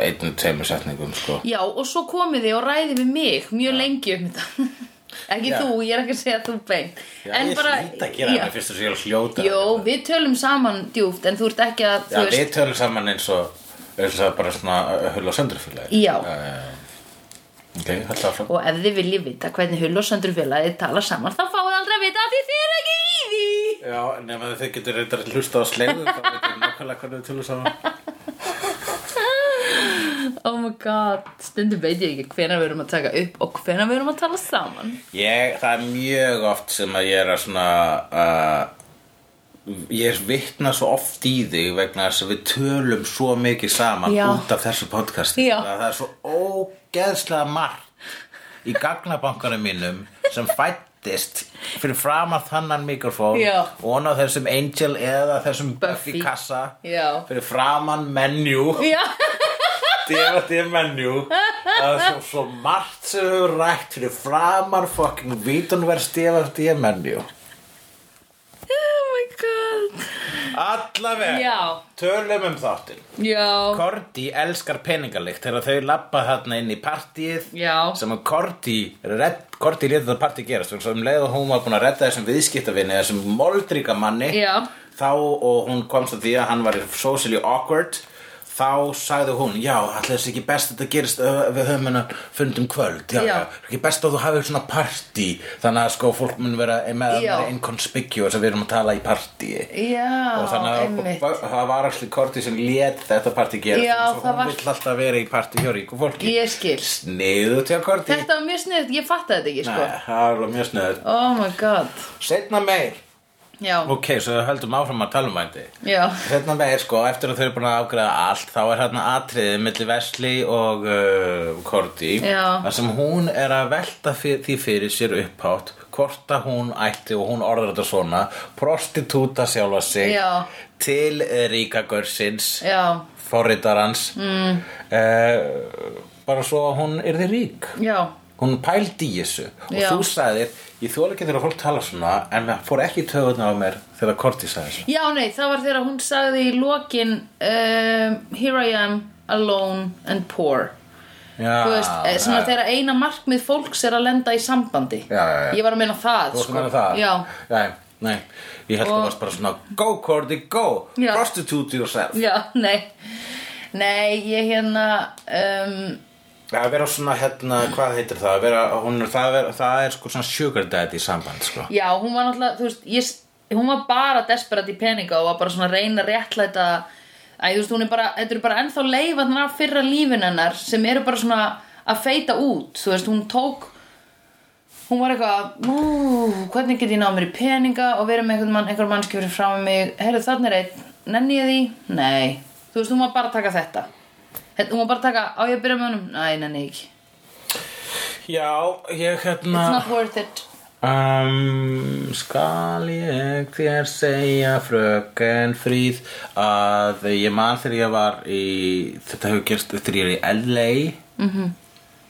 A: einu, tveimur setningum sko
C: Já, og svo komið þið og ræðið við mig mjög lengi um þetta *laughs* Ekki
A: Já.
C: þú, ég er ekki að segja þú beint
A: Já, ég hlýta að gera
C: Já.
A: það fyrst og sér hljóta
C: Jó, við tölum saman djúft en þú ert ekki að,
A: Já,
C: þú veist,
A: við tölum saman eins og, eins og bara svona hull og söndrufélagi
C: Já.
A: Ok, held það fram
C: og ef þið viljið vita hvernig hull og söndur félagið tala saman þá fáið aldrei að vita af því þið er ekki í því
A: Já, nema að þið getur reyndar að hlusta á slegðu þá veitum við nákvæmlega hvernig við tölum saman
C: Oh my god, stundum veit ég ekki hvenær við erum að taka upp og hvenær við erum að tala saman
A: Ég, það er mjög oft sem að ég er að svona uh, ég er vitna svo oft í þig vegna þess að við tölum svo mikið saman
C: Já.
A: út af þessu podcasti
C: Já.
A: það er svo ógeðslega margt í gagnabankanum mínum sem fættist fyrir fram að þannan mikrofón
C: Já.
A: og á þessum Angel eða þessum
C: Buffy.
A: Buffy, kassa
C: Já.
A: fyrir framan menu
C: Já,
A: D&D menu það er svo, svo margt sem við höfum rætt fyrir framan fucking vítunverð D&D menu
C: oh my god
A: allaveg
C: Já,
A: tölum um þáttinn
C: já,
A: Korti elskar peningalikt þegar þau lappa þarna inn í partíið
C: Já.
A: sem að Korti redd, Korti lítið það partí gerast og um leið og hún var búin að redda þessum viðskiptavinni þessum moldríka manni
C: Já.
A: þá og hún komst að því að hann var socially awkward þá sagði hún, já, allir þessi ekki best að þetta gerist ö, við höfum hennar fundum kvöld já,
C: Já.
A: já, ekki best að þú hafið svona partí þannig að sko fólk mun vera með
C: Já.
A: meira inconspicuous að við erum að tala í partíi og
C: já,
A: þannig
C: einmitt
A: að það var allir korti sem lét þetta partí gera
C: Já,
A: svo
C: það
A: hún
C: var-
A: vill alltaf vera í partí hjá ríku fólki
C: Ég skil,
A: sniðu til að korti
C: þetta
A: Sko.
C: var mjög sniðt, ég fattaði þetta ekki
A: Nei,
C: sko
A: það var alveg mjög sniður
C: Oh my god
A: setna meir
C: Já.
A: Ok, svo við höldum áfram að tala um vændi
C: Já,
A: Hérna með er sko, eftir að þau eru búin að ágræða allt þá er hérna atriðið milli Vesli og uh, Korti
C: Já.
A: þar sem hún er að velta fyr, því fyrir sér upphátt hvort að hún ætti og hún orðar þetta svona prostituta sjálfa sig
C: Já.
A: til ríkagörsins
C: já,
A: forritarans mm. bara svo að hún yrði rík
C: já
A: hún pældi í þessu og
C: Já.
A: þú sagðir, ég þóla ekki þegar fólk tala svona en það fór ekki töðuna á mér þegar Korti sagði þessu
C: Já, nei, það var þegar hún sagði í lokin um, Here I am, alone and poor
A: Ah, Já,
C: Þú veist, eh, svona þegar eina markmið fólks er að lenda í sambandi
A: Já, já, já.
C: Ég var að meina það, sko.
A: Þú veist meina það?
C: Já,
A: Nei, nei, ég held
C: Og-
A: það varst bara svona Go Korti, go,
C: Já.
A: prostitute yourself
C: já, nei Nei, ég hérna um,
A: Að vera svona hérna, hvað heitir það? Að Vera, hún, er- það, er, það er sko svona sugar daddy samband sko.
C: Já, hún var náttúrulega, þú veist, ég, hún var bara desperat í peninga og var bara svona að reyna að réttlæta Æ, þú veist, hún er bara, þetta eru bara ennþá leifarnar af fyrra lífin hennar sem eru bara svona að feita út, þú veist, hún tók hún var eitthvað "Ú, hvernig get ég náð mér í peninga og verið með einhvern mann, einhver mannski fyrir frá mig heyrðu þarna er einn, nenni ég því nei, þú veist, hún var bara að taka þetta Þetta- hún var bara að taka, á ég að byrja með honum næ, nenni ég ekki,
A: Já, ég hérna
C: it's not worth it
A: Um, skal ég þér segja fröken fríð að ég man þegar ég var í þetta hefur gerst þegar ég er í LA mm
C: Mhm.
A: -hmm.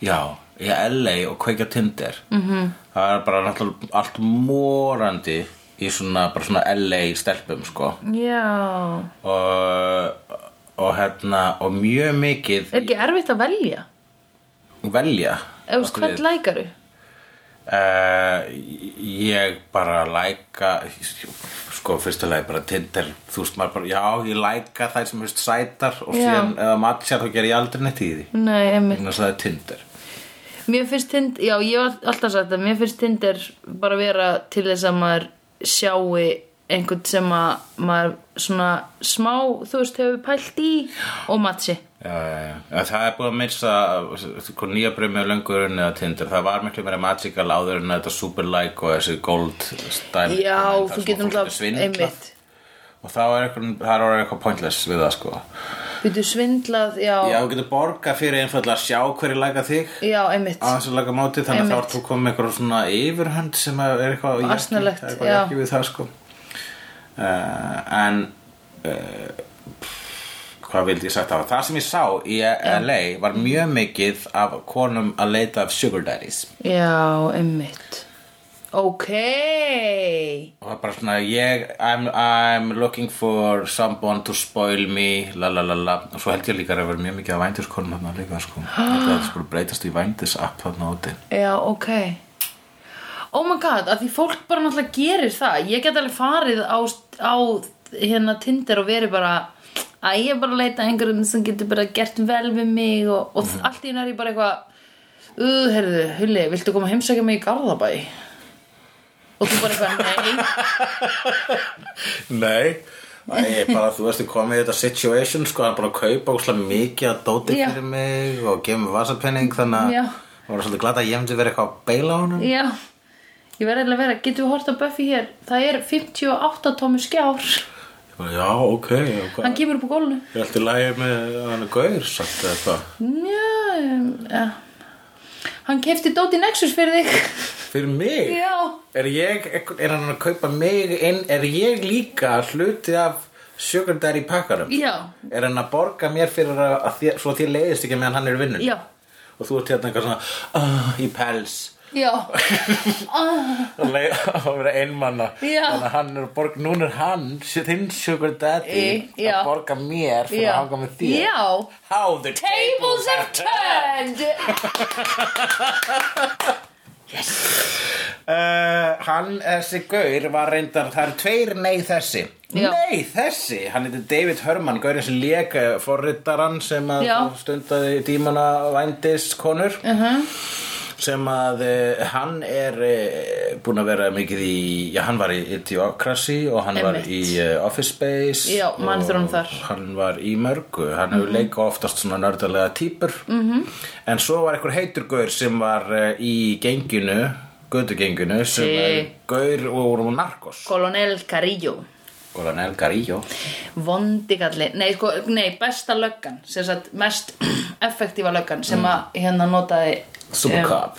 A: já, í LA og kveikja á Tinder mm
C: Mhm.
A: -hmm. það er bara náttúrulega allt morandi í svona, bara svona LA stelpum sko
C: já,
A: og, og hérna og mjög mikið
C: ekki erfitt að velja
A: velja
C: Ef veist, hvern lækaru?
A: Uh, ég bara læka sko fyrsta lagi bara Tinder þú veist maður bara, já ég læka þær sem hefst sætar og
C: Já.
A: síðan eða matjar þá ger ég aldrei neitt í því
C: Nei, einmitt.
A: þannig að það er Tinder
C: Mér finnst Tinder, já, ég hef alltaf sagt það, mér finnst Tinder bara vera til þess að maður sjái einhvern sem að maður svona smá, þú veist, hefur pælt í og matsi.
A: uh, það er búið að missa sko, nýja bremi og löngur en eða Tinder það var miklu meira magical áður en þetta super like og þessi gold stæmi
C: Já,
A: Það sem
C: þú
A: fólk
C: getur
A: er
C: náttúrulega,
A: svindlað.
C: einmitt.
A: og þá er eitthvað, það er orðið eitthvað pointless við það sko
C: Getur svindlað, já,
A: já,
C: já,
A: þú getur borgað fyrir einfallega að sjá hverju læka þig
C: einmitt.
A: á þessu laga móti þannig að þá ert þú komið með eitthvað svona yfirhönd sem að er eitthvað ég ekki-
C: Asnalegt,
A: eitthvað
C: já.
A: ég ekki við það sko uh, en uh, hvað vildi ég sagt af það sem ég sá í LA var mjög mikið af konum að leita af sugar daddies
C: Já, einmitt. Ok.
A: og það er bara svona ég, I'm, I'm looking for someone to spoil me la la la la og svo held ég líka að það verið mjög mikið af vændiskonum þarna líka sko þetta er sko breytast í vændis app þarna úti
C: Já, ok Oh my god, að því fólk bara náttúrulega gerir það Ég get alveg farið á, á hérna Tinder og verið bara að ég er bara að leita að einhverjum sem getur bara gert vel við mig og, og allt í einu er ég bara eitthvað Uh, herðu, Hulli, viltu koma að heimsækja mig í Garðabæ? Og þú bara eitthvað, nei
A: Nei Æ, bara þú veist, ég kom í þetta situation sko, hann er bara að kaupa óslega mikið að dóti
C: Já.
A: fyrir mig og gefa mér vasapenning þannig
C: Já.
A: að það var svolítið glata að ég hefndi verið eitthvað að beila á honum
C: Já, ég verði eiginlega að vera Getum við hort á Buffy hér? Það er 58 tómi skjár
A: Ég bara, Já, ok, og hvað
C: Hann kemur upp á gólnu
A: Ég ætti lægja með hann er gaur sagt eða hvað
C: Já, um, ja. hann kefti Dóti Nexus fyrir þig
A: Fyrir mig?
C: Já.
A: Er, ég, er hann að kaupa mig inn, er ég líka hluti af sugar daddy pakkarum?
C: Já.
A: Er hann að borga mér fyrir að, að þér, svo að þér leiðist ekki meðan hann er vinnur?
C: Já,
A: Og þú ert hérna eitthvað svona uh, í pels
C: já
A: að lei- að vera einmanna
C: Já.
A: þannig að hann er að borga, núna er hann þinn sugar daddy
C: Í, já.
A: að borga mér fyrir
C: Já.
A: að hanga með þér
C: Já.
A: how the
C: Tables have turned
A: uh, hann, þessi gaur var reyndar, það eru tveir nei þessi
C: Já.
A: nei þessi, hann heitir David Herman gaurinn sem léka forritaran sem að
C: Já.
A: stundaði dímana vændis konur
C: uh -huh.
A: sem að uh, hann er uh, búin að vera mikið í já, hann var í Idiocracy og hann
C: Einmitt.
A: var í uh, Office Space
C: Já, mann þegar hann
A: og
C: þar.
A: hann var í mörgu, hann hefur leika oftast svona nördalega típur -hmm. en svo var einhver heitur gaur sem var uh, í eh, genginu gödugenginu sem
C: Sí.
A: er gaur og vorum narkos
C: Colonel Carrillo
A: Coronel Garillo
C: vondi kalli, nei, sko, nei besta löggan, sem sagt mest *clears throat* effektífa löggan sem að hérna notaði
A: Super
C: um,
A: Cop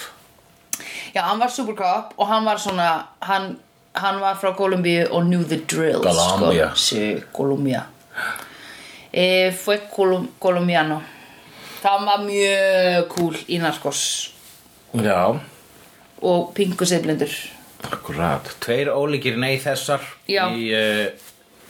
C: já, hann var supercop og hann var svona hann, hann var frá Kolumbíu og knew the drill
A: Colombia.
C: sko. sí, Kolumbía e, fue Colum, Colombiano það var mjög cool í narkos
A: Já,
C: og pingu seflindur
A: akkurat Tveir ólíkir nei þessar
C: Já.
A: í, uh,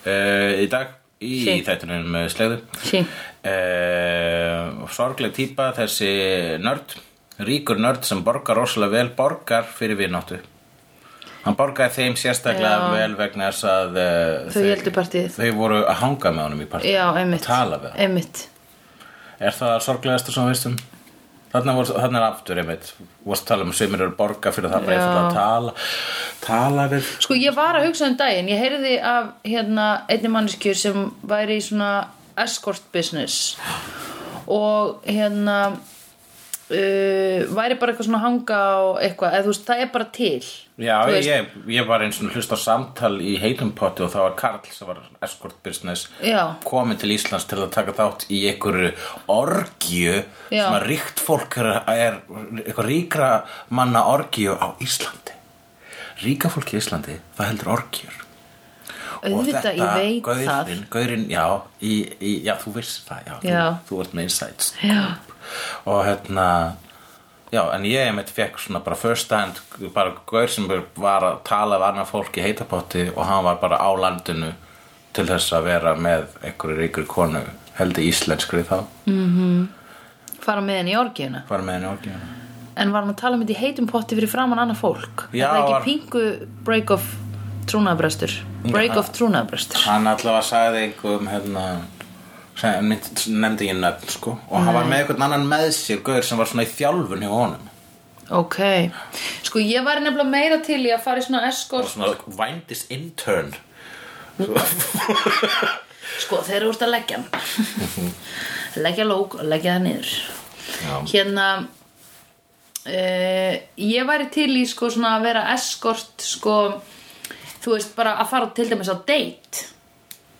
A: uh, í dag í
C: Sí.
A: þættunum með slegðu
C: Sí.
A: uh, Sorgleg típa þessi nörd ríkur nörd sem borgar rosalega vel borgar fyrir vináttu Hann borgaði þeim sérstaklega
C: Já.
A: vel vegna þess að uh,
C: Þau héldu partíið.
A: Þau voru að hanga með honum í partíð
C: já, einmitt
A: Að tala við hann
C: einmitt
A: Er það sorglegasta sem við veistum? Þarna, voru, þarna er aftur einmitt Vorst tala um sem eru að borga fyrir það bara
C: Já.
A: eitthvað að tala Tala við
C: Sko ég var að hugsa um daginn, ég heyrði af hérna einni manneskju sem væri í svona escort business og hérna uh, væri bara eitthvað svona að hanga og eitthvað, eða þú veist, það er bara til
A: Já,
C: Þú veist-
A: ég, ég var eins og hlust á samtal í heitum potti og það var Karl sem var escort business
C: Já.
A: komin til Íslands til að taka þátt í einhverju orgju
C: Já.
A: sem að ríkt fólk er, er eitthvað ríkra manna orgju á Íslandi Ríka fólk í Íslandi, það heldur orgjur
C: auðvitað, ég veit það
A: gaurinn, gaurinn, já, í, í, já, þú vissir það, já,
C: Já.
A: Þú, þú ert með insights
C: Já,
A: og hérna, já, en ég einmitt fekk svona bara first hand, bara gaur sem var að tala við annað fólk í heitapotti og hann var bara á landinu til þess að vera með einhverju ríkur konu, heldur íslenskri þá,
C: fara með henni í orgíuna
A: var með henni orgjuna.
C: en var hann að tala um þetta í heitum potti fyrir framann annað fólk
A: Já,
C: er það ekki
A: var-
C: pingu break of trúnaðabrestur break of trúnaðabrestur
A: hann allavega sagði einhverjum hérna sem mynd- nefndi ég nöfn sko og hann var með einhvern annan með sér gaur sem var svona í þjálfun hjá honum
C: ok, sko ég væri nefnilega meira til í að fara í svona escort
A: og svona vændist intern
C: Sko, þeir eru úr að leggja hann Leggja lók og leggja það niður
A: já.
C: Hérna uh, Ég væri til í sko svona að vera eskort sko Þú veist bara að fara til dæmis á date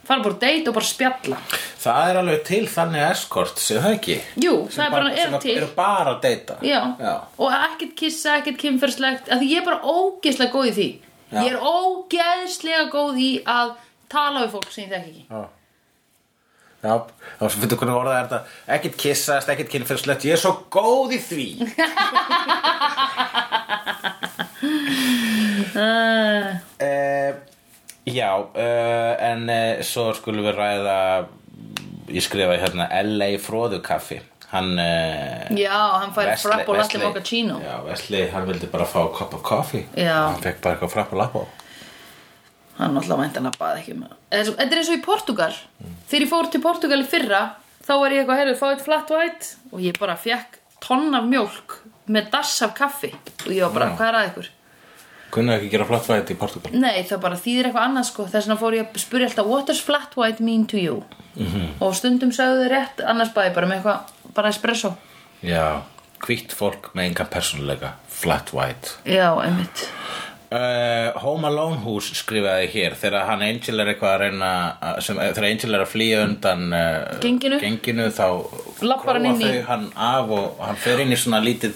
C: Fara bara á date og bara spjalla
A: það er alveg til þannig eskort sem það ekki
C: Jú, það er bara,
A: sem
C: er til
A: eru bara að deyta
C: Já.
A: já.
C: og ekkert kissa, ekkert kynferðslegt að því ég er bara ógeðslega góð í því
A: Já.
C: Ég er ógeðslega góð í að tala við fólk sem ég þekki ekki
A: Já, þá finnum hvernig orðað er þetta ekkert kissast, ekkert kynfyrslegt, ég er svo góð í
C: *laughs*
A: því
C: uh,
A: uh, Já, uh, en uh, svo skulum við ræða ég skrifa hérna LA Fróðukaffi hann uh,
C: Já, hann fær
A: Wesley-
C: frapp og latte
A: Wesley-
C: mochaccino
A: Já, Wesley, hann vildi bara fá kopp af kaffi
C: Já.
A: Hann fekk bara eitthvað frapp og lappa
C: hann náttúrulega vænt að nappaði ekki með Eða svo- þetta er eins og í Portugal þegar ég fór til Portugal í fyrra þá var ég eitthvað, heyrðu, fá eitt flat white og ég bara fekk tonn af mjólk með dass af kaffi og ég var bara,
A: Vá.
C: hvað er að ykkur?
A: Kunnaðu ekki gera flatt væti í Portugal
C: Nei, það bara þýðir eitthvað annað sko þess vegna fór ég að spurja alltaf, what does flat white mean to you? -hmm. og stundum sagðu þau rétt, annars bæði bara með eitthvað bara espresso
A: Já, hvitt fólk með engan persónuleika Flat white
C: já, einmitt
A: Uh, Home Alone hús skrifaði hér þegar hann Angel er eitthvað að reyna að- sem, eh, þegar Angel er að flýja undan uh,
C: Genginu.
A: þá
C: Labbar
A: króa
C: hann inn í-
A: þau hann af og hann fer inn í svona lítið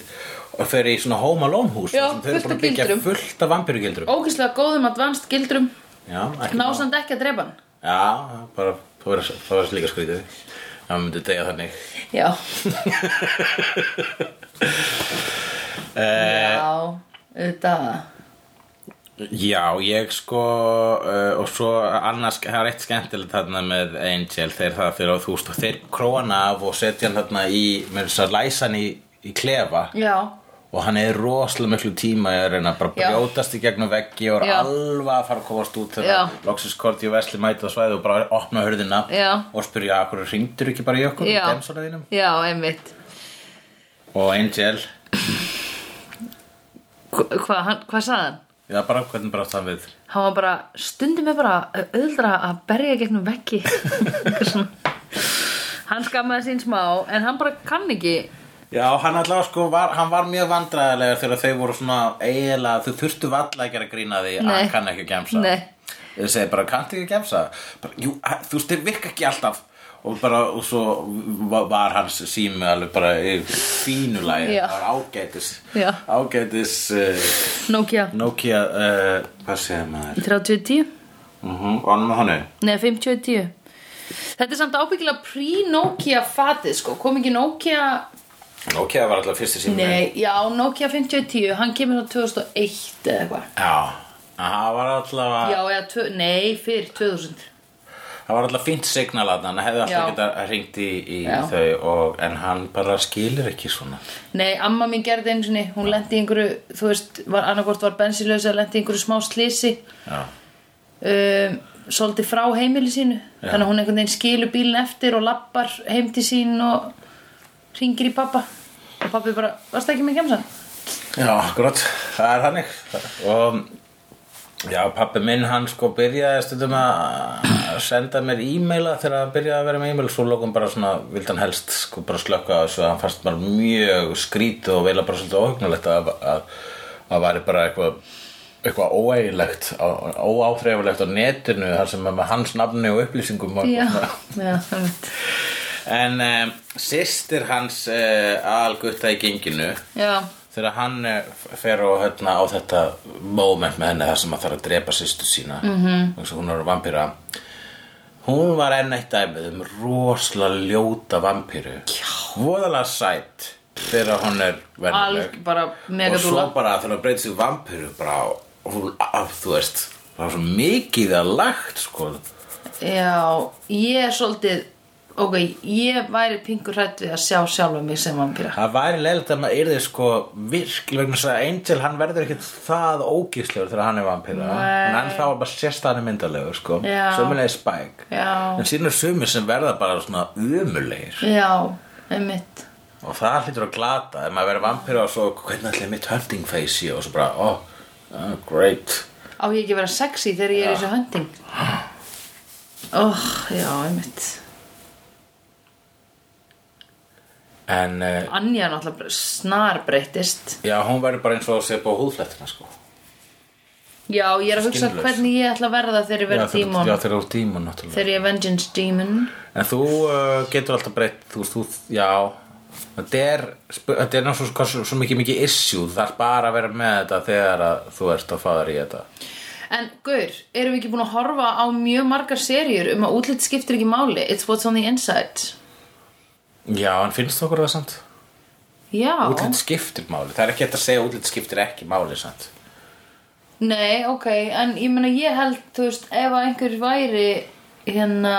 A: og fer í svona Home Alone hús
C: Já,
A: þar sem þau eru
C: fullt
A: búin
C: af
A: að byggja
C: gildrum.
A: fullt af vampirugildrum
C: ógeðslega góðum advanced gildrum
A: Já, ekki nóg.
C: násand ekki að drepa hann
A: Já, bara það var, það var líka skrítið Það myndi degja þannig
C: já já, auðvitað
A: Já, ég sko uh, og svo annars, það er eitt skemmtilegt þarna með Angel þegar það fyrir á þúst og þeir króna af og setja hann þarna í, með þess að læsa hann í, í klefa
C: Já,
A: og hann er rosalega miklu tíma í að reyna bara
C: Já.
A: brjótast í gegnum veggi og er
C: Já.
A: alveg að fara að komast út
C: Já.
A: þegar loksins korti og vesli mæta á svæði og bara opna hurðina
C: Já.
A: og spyrja að hverju hringdur ekki bara í okkur í
C: já,
A: gemsana þínum
C: já, einmitt
A: og Angel,
C: Hva- Hvað hann- hvað sagði hann?
A: já bara hvernig brátt hann við
C: Hann var bara, stundum er bara auðra að berja gegnum *laughs* veggi Eitthvað svona. Hann skammaði sín smá En hann bara kann ekki
A: Já, hann allavega sko, var, hann var mjög vandræðilega þegar þau voru svona eiginlega, þau þurftu valla að gera grína því að
C: Nei.
A: hann kann ekki að gemsa.
C: Nei.
A: Þau segi bara, kanntu ekki að gemsa? Bara, Jú, að- þú veist, þeir virka ekki alltaf. Og bara, og svo va- var hans sími alveg bara í fínu lagi.
C: Já.
A: Það var ágætis,
C: Já.
A: ágætis uh,
C: Nokia
A: Nokia, uh, hvað segir maður?
C: 3010
A: Uh -huh. Og hann með honum?
C: Nei, 5010 Þetta er samt ábyggilega pre-Nokia fatið sko, kom ekki Nokia
A: Nokia var alltaf fyrsti sími.
C: Nei, já, Nokia 5010 hann kemur á 2001 eða eitthvað
A: Já, það var alltaf
C: Já, eða, tvö- nei, fyrir 2000
A: Það var alltaf fínt signal að hann hefði alltaf
C: Já.
A: getað hringt í, í
C: Já.
A: þau og, en hann bara skilur ekki svona
C: Nei, amma mín gerði einu sinni, hún lendi í einhverju, þú veist, var, annarkvort var bensinlaus eða lendi í einhverju smá slisi
A: Já,
C: um, svolítið frá heimili sínu þannig að hún einhvern veginn skilur bílinn eftir og lappar heim til sín og ringir í pappa og pappi bara, varst ekki með kemsan?
A: já akkurat, það er hannig og já, pappi minn hann sko byrjaði stundum að senda mér e-maila þegar hann byrjaði að vera með e-mail svo lókum bara svona, vildi hann helst sko bara slökka á þessu, hann fannst bara mjög skrítið og veila bara svolítið óhugnulegt að það væri bara eitthvað eitthvað óægilegt, óáþreifulegt á netinu, þar sem er með hans nafni og upplýsingum og
C: Já,
A: svona.
C: já, einmitt.
A: En um, sýstir hans uh, algutta í genginu
C: já,
A: þegar hann uh, fer og hérna á þetta moment með henni þar sem hann þarf að drepa sýstu sína mm
C: Mhm.
A: -hmm. hún er vampíra hún var enn eitt dæmið um rosalega ljóta vampíru voðalega sætt þegar hún er
C: alg
A: vennileg
C: bara
A: og svo
C: megadúla
A: bara þegar hún breytir sig í vampíru bara, hún, af, þú veist það var svo mikið að lagt sko
C: Já, ég er svolítið ok, ég væri pingur hrætt við að sjá sjálfa mig sem vampíra
A: Það væri leiðilegt að maður yrði sko virkilega vegna þess að Angel hann verður ekkert það ógíslegur þegar hann er vampíra
C: Nei.
A: en hann þá er bara sérstæðan myndalegur sko
C: Já.
A: sömulegi spæk
C: Já,
A: en síðan er sumir sem verða bara svona umulegir
C: já, einmitt
A: og það hlýtur að glata ef maður verður vampíra og svo hvernig ætlaði mitt hunting face í og svo bara oh, oh great
C: Á ég ekki að vera sexy þegar ég er í þessu hunting Óh, já, einmitt
A: en uh,
C: Anja náttúrulega snarbreytist
A: já hún verður bara eins og að sé búið húðflettina sko
C: Já, ég er að hugsa
A: Skinnlaus.
C: hvernig ég ætla að verða þegar ég verða
A: já, þeir,
C: dímon
A: já þeir eru dímon náttúrulega
C: Þegar ég er vengeance demon
A: En þú uh, getur alltaf breytt, þú veist, þú, já, þetta er, sp- þetta er náttúrulega svo, svo, svo mikið mikið issue, það er bara að vera með þetta þegar að þú ert að fara í þetta.
C: En gaur, erum við ekki búin að horfa á mjög margar seríur um að útlit skiptir ekki máli It's what's on the inside
A: Já, en finnst okkur það samt?
C: Já,
A: Útlit skiptir máli, það er ekki hægt að segja að útlit skiptir ekki máli samt.
C: nei, ok En ég meina ég held, þú veist, ef að einhver væri hérna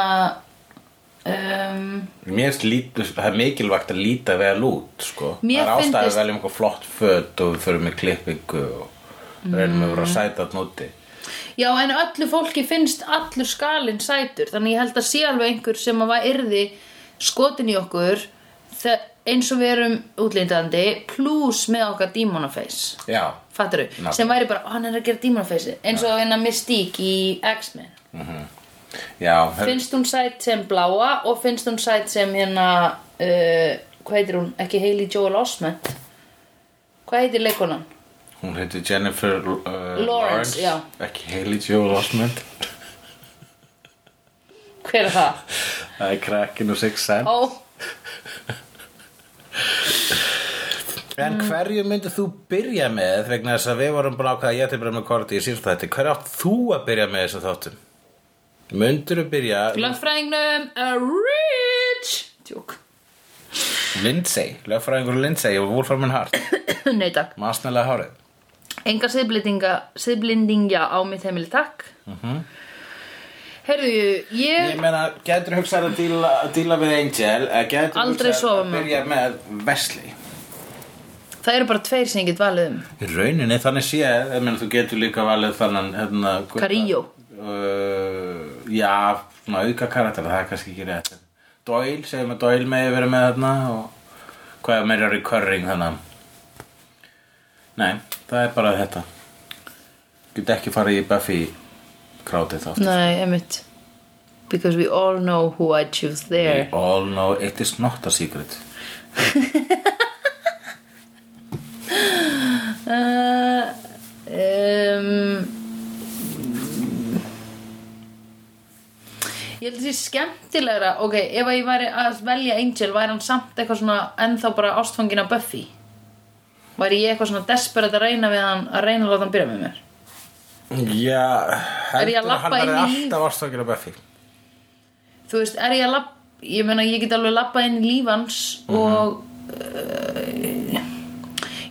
C: um,
A: Mér finnst lít- það er mikilvægt að líta vel út, sko.
C: Mér
A: það er ástæða
C: fyndist-
A: að velja um eitthvað flott föt og við förum með klippingu og reynum að
C: Mm.
A: vera sæta að núti.
C: Já, en öllu fólki finnst allur skalinn sætur Þannig ég held að sé alveg einhver sem að var yrði skotin í okkur þe- eins og við erum útlýndandi pluss með okkar dímonaface
A: Já,
C: Fattaru?
A: Nákvæmlega.
C: Sem væri bara, "Ó, hann er að gera dímonaface eins og hennar Mystique í X-Men
A: já, hef-
C: Finnst hún sæt sem bláa og finnst hún sæt sem hérna uh, hvað heitir hún? Ekki Hailey Joel Osment Hvað heitir leikonan?
A: hún heiti Jennifer uh, Lawrence,
C: Lawrence, já.
A: ekki Hailey Joel Osment.
C: Hver er það?
A: Það er krakkin og Six Sense
C: Ó, mm.
A: En hverju myndið þú byrja með vegna þess að við vorum bara ákveða að ég ætti bara með korti í síðan þetta Hverju átt þú að byrja með þessum þáttum? Myndur þú byrja
C: lögfræðingnum uh, Rich Tjók
A: Lindsay, lögfræðingur Lindsay og Wolfram and Hart
C: *coughs* Nei takk
A: Masnælega hárið
C: Enga siðblendinga, siðblendingja á mitt heimili takk Herðu, ég
A: Ég meina, getur hugsað að díla, díla við Angel eða Getur
C: Aldrei
A: hugsað
C: sofa
A: að
C: með.
A: byrja með Wesley
C: Það eru bara tveir sem ég get valið um
A: Í rauninni þannig séð, ég meina þú getur líka valið þannan hérna, gutta-
C: Carrillo.
A: uh, Já, svona auka karakter, það er kannski ekki rétt Doyle, segjum að Doyle megi verið með þarna og hvað er meira recurring þannig Nei, það er bara þetta Get ekki farið í Buffy krátið þá
C: Nei, einmitt Because we all know who I choose there
A: All know it is not a secret
C: Ehm, Ég held að það sé skemmtilegra Ok, ef að ég væri að velja Angel væri hann samt eitthvað svona ennþá bara ástfangin af Buffy Væri ég eitthvað svona desperate að reyna við hann að reyna að láta hann byrja með
A: Já,
C: mér Er ég að
A: heldur að
C: labba
A: hann verði
C: inn í líf?
A: alltaf ástofakir af Buffy
C: Þú veist, er ég að labba Ég meina, ég get alveg labba inn í líf hans
A: Mhm.
C: og uh,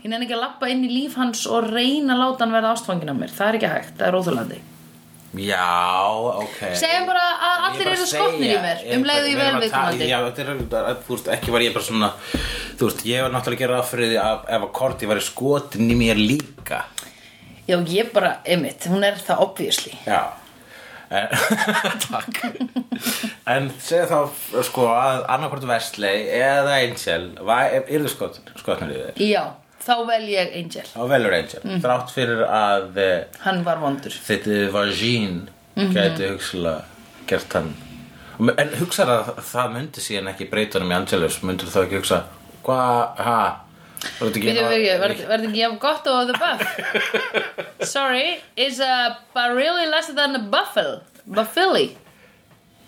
C: ég nefn ekki að labba inn í líf hans og reyna að láta hann verða ástfangin af mér Það er ekki hægt, það er óþjólandi
A: Já, ok
C: Segjum bara að
A: Ég
C: allir
A: bara
C: eru
A: segja,
C: skotnir í mér um leiðu ég
A: við erum
C: vel
A: að tala-
C: viðkomandi
A: Já, þetta er, þetta er- þú veist, ekki var ég bara svona Þú veist, ég var náttúrulega að gera það fyrir því að ef að Korti væri skotin í mér líka
C: Já, ég bara, einmitt, hún er það obviously
A: Já En- *laughs* Takk En segja þá sko að annarkvort Vestley eða Angel Yrðu skotin, skotin í þér
C: Já, þá vel ég Angel
A: Þá velur Angel,
C: Mm.
A: þrátt fyrir að eh,
C: Hann var vondur
A: þetta vagín
C: Mhm.
A: gæti hugslega gert hann en hugsaðu að það myndi síðan ekki breyta hann í Angelus myndir þá ekki hugsa hvað, ha var þetta ekki
C: Byrju,
A: nóg-
C: byrju, verði verði ekki jafn gott og the buff Sorry, is uh, a barili less than a buffel Buffili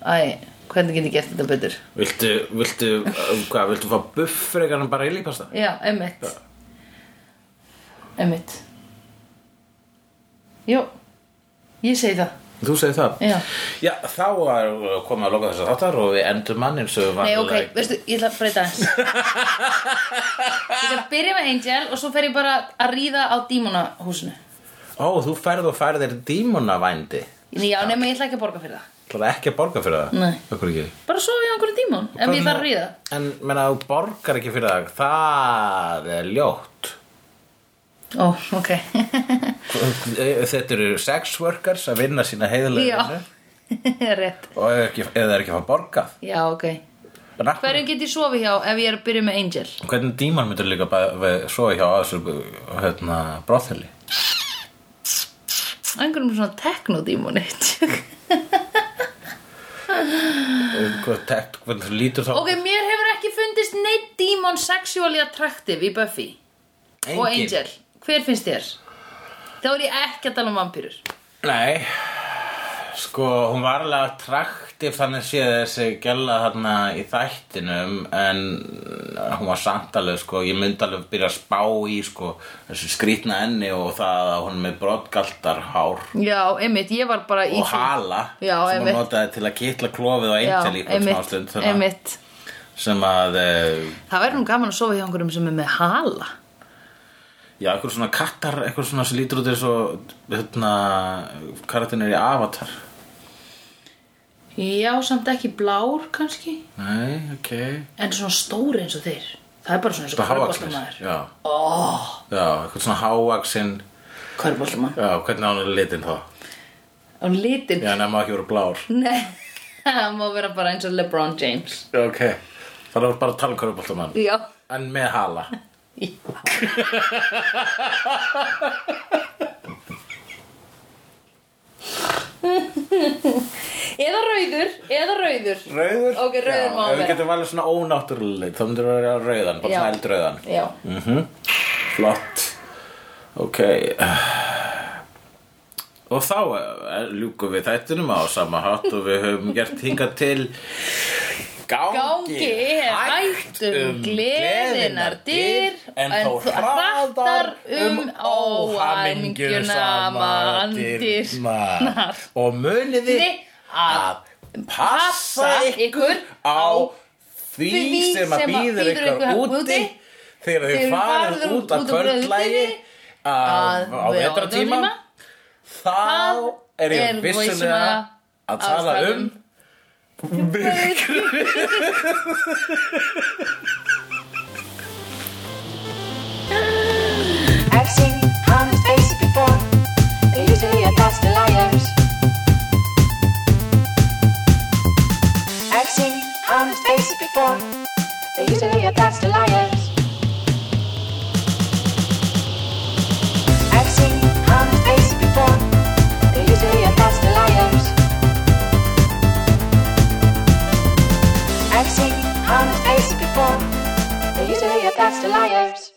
C: Æ, hvernig get ég gert þetta betur?
A: viltu, viltu, uh, hvað, viltu fá buff frekar en bara í lípasta
C: Já, einmitt Einmitt Jó, ég segi það
A: þú segir það
C: Já.
A: Já, þá er komið að loka þess að þáttar og við endum mann eins og
C: Nei, ok,
A: vanlega-
C: veistu, ég ætla að breyta eins Ég ætla að byrja með Angel og svo fer ég bara að ríða á dímonahúsinu
A: ó, þú færð og færðir dímonavændi
C: Já, nema ég ætla ekki að borga fyrir það
A: Það er ekki að borga fyrir það
C: Nei.
A: Okkur ekki
C: Bara sofa hjá einhverjum tímón En ég þarf að ríða
A: En menna, þú borgar ekki fyrir það Það er ljótt
C: Ó, ok
A: Þetta eru sex workers að vinna sína heiðlega
C: Já,
A: vinnu
C: *laughs* rétt
A: og er ekki, eða er ekki að fá borgað
C: Já, ok
A: En af hverju-
C: Hverjum get ég sofið hjá ef ég er að byrja með Angel?
A: Hvernig díman myndir líka bæ- við- svo hjá að þessu hérna, bróðheli?
C: Einhverjum svona teknodímoni
A: Hvernig þú lítur þá
C: *laughs* Ok, mér hefur ekki fundist neitt dímon sexually attractive í Buffy og
A: Engin.
C: Angel Hver finnst þér? Þá er ég ekki að tala um vampýrur
A: Nei Sko, hún var alveg attraktiv þannig séð þessi gæla þarna í þættinum en eh, hún var samt alveg, sko, ég myndi alveg byrja að spá í, sko, þessu skrýtna enni og það að hún er með brottgaltarhár
C: Já, einmitt, ég var bara í
A: og hala
C: Já,
A: sem
C: einmitt.
A: hún notaði til að kitla klofið og
C: Já,
A: eintel í hvern smá
C: einmitt,
A: stund þannig
C: einmitt
A: að- sem að, eh,
C: Það verður nú gaman að sofa hjá einhverjum sem er með hala
A: já, eitthvað svona kattar, eitthvað svona sem lítur út eins og, hérna, karatinn er í Avatar
C: Já, samt ekki blár kannski
A: Nei, ok
C: En svona stóri eins og þeir Það er bara svona eins og
A: Bara hávaxnir
C: körbóltamaður
A: Já oh. Já, eitthvað svona hávaxin
C: Körbóltamaður
A: Já, hvernig á hann er litinn þá?
C: Á litin
A: Já, nema ekki voru blár
C: Nei, *laughs* það má vera bara eins og LeBron James
A: Já, ok Það er bara að tala um körfuboltamann
C: Já
A: En með hala
C: Eða rauður, eða rauður
A: Rauður?
C: Ok, rauður
A: Já,
C: má
A: Ef við
C: vera.
A: getum valið svona ónáttúrulega lit Þá myndir við vera rauðan, bara
C: Já.
A: svona eldrauðan
C: Já
A: Flott Ok Og þá eh, ljúkum við þættinum á sama hátt og við höfum gert hingað til gangi,
C: Gangi hægt um gleðinar dyr
A: en þó hraðar um óhamingjuna dyrnar og muniði að passa ykkur á því
C: því
A: sem að
C: sem að
A: býður
C: bíður
A: ykkur
C: ykkur
A: úti
C: úti
A: þegar
C: þegar
A: þau
C: þið
A: farið
C: farið
A: út á
C: út á
A: kvöldlægi
C: kvöldlagi,
A: að-
C: að-
A: á
C: á
A: vetratíma
C: vetrartíma,
A: þá
C: þá
A: er
C: er
A: ég vissulega
C: vissulega
A: að tala
C: tala
A: um myrk
D: I've seen honest faces before. They're usually a pass to liars. I've seen honest faces before. They're usually a pass to liars. I've seen honest faces before. They're usually a pass to liars. I've seen honest faces before. They're usually a pass to liars.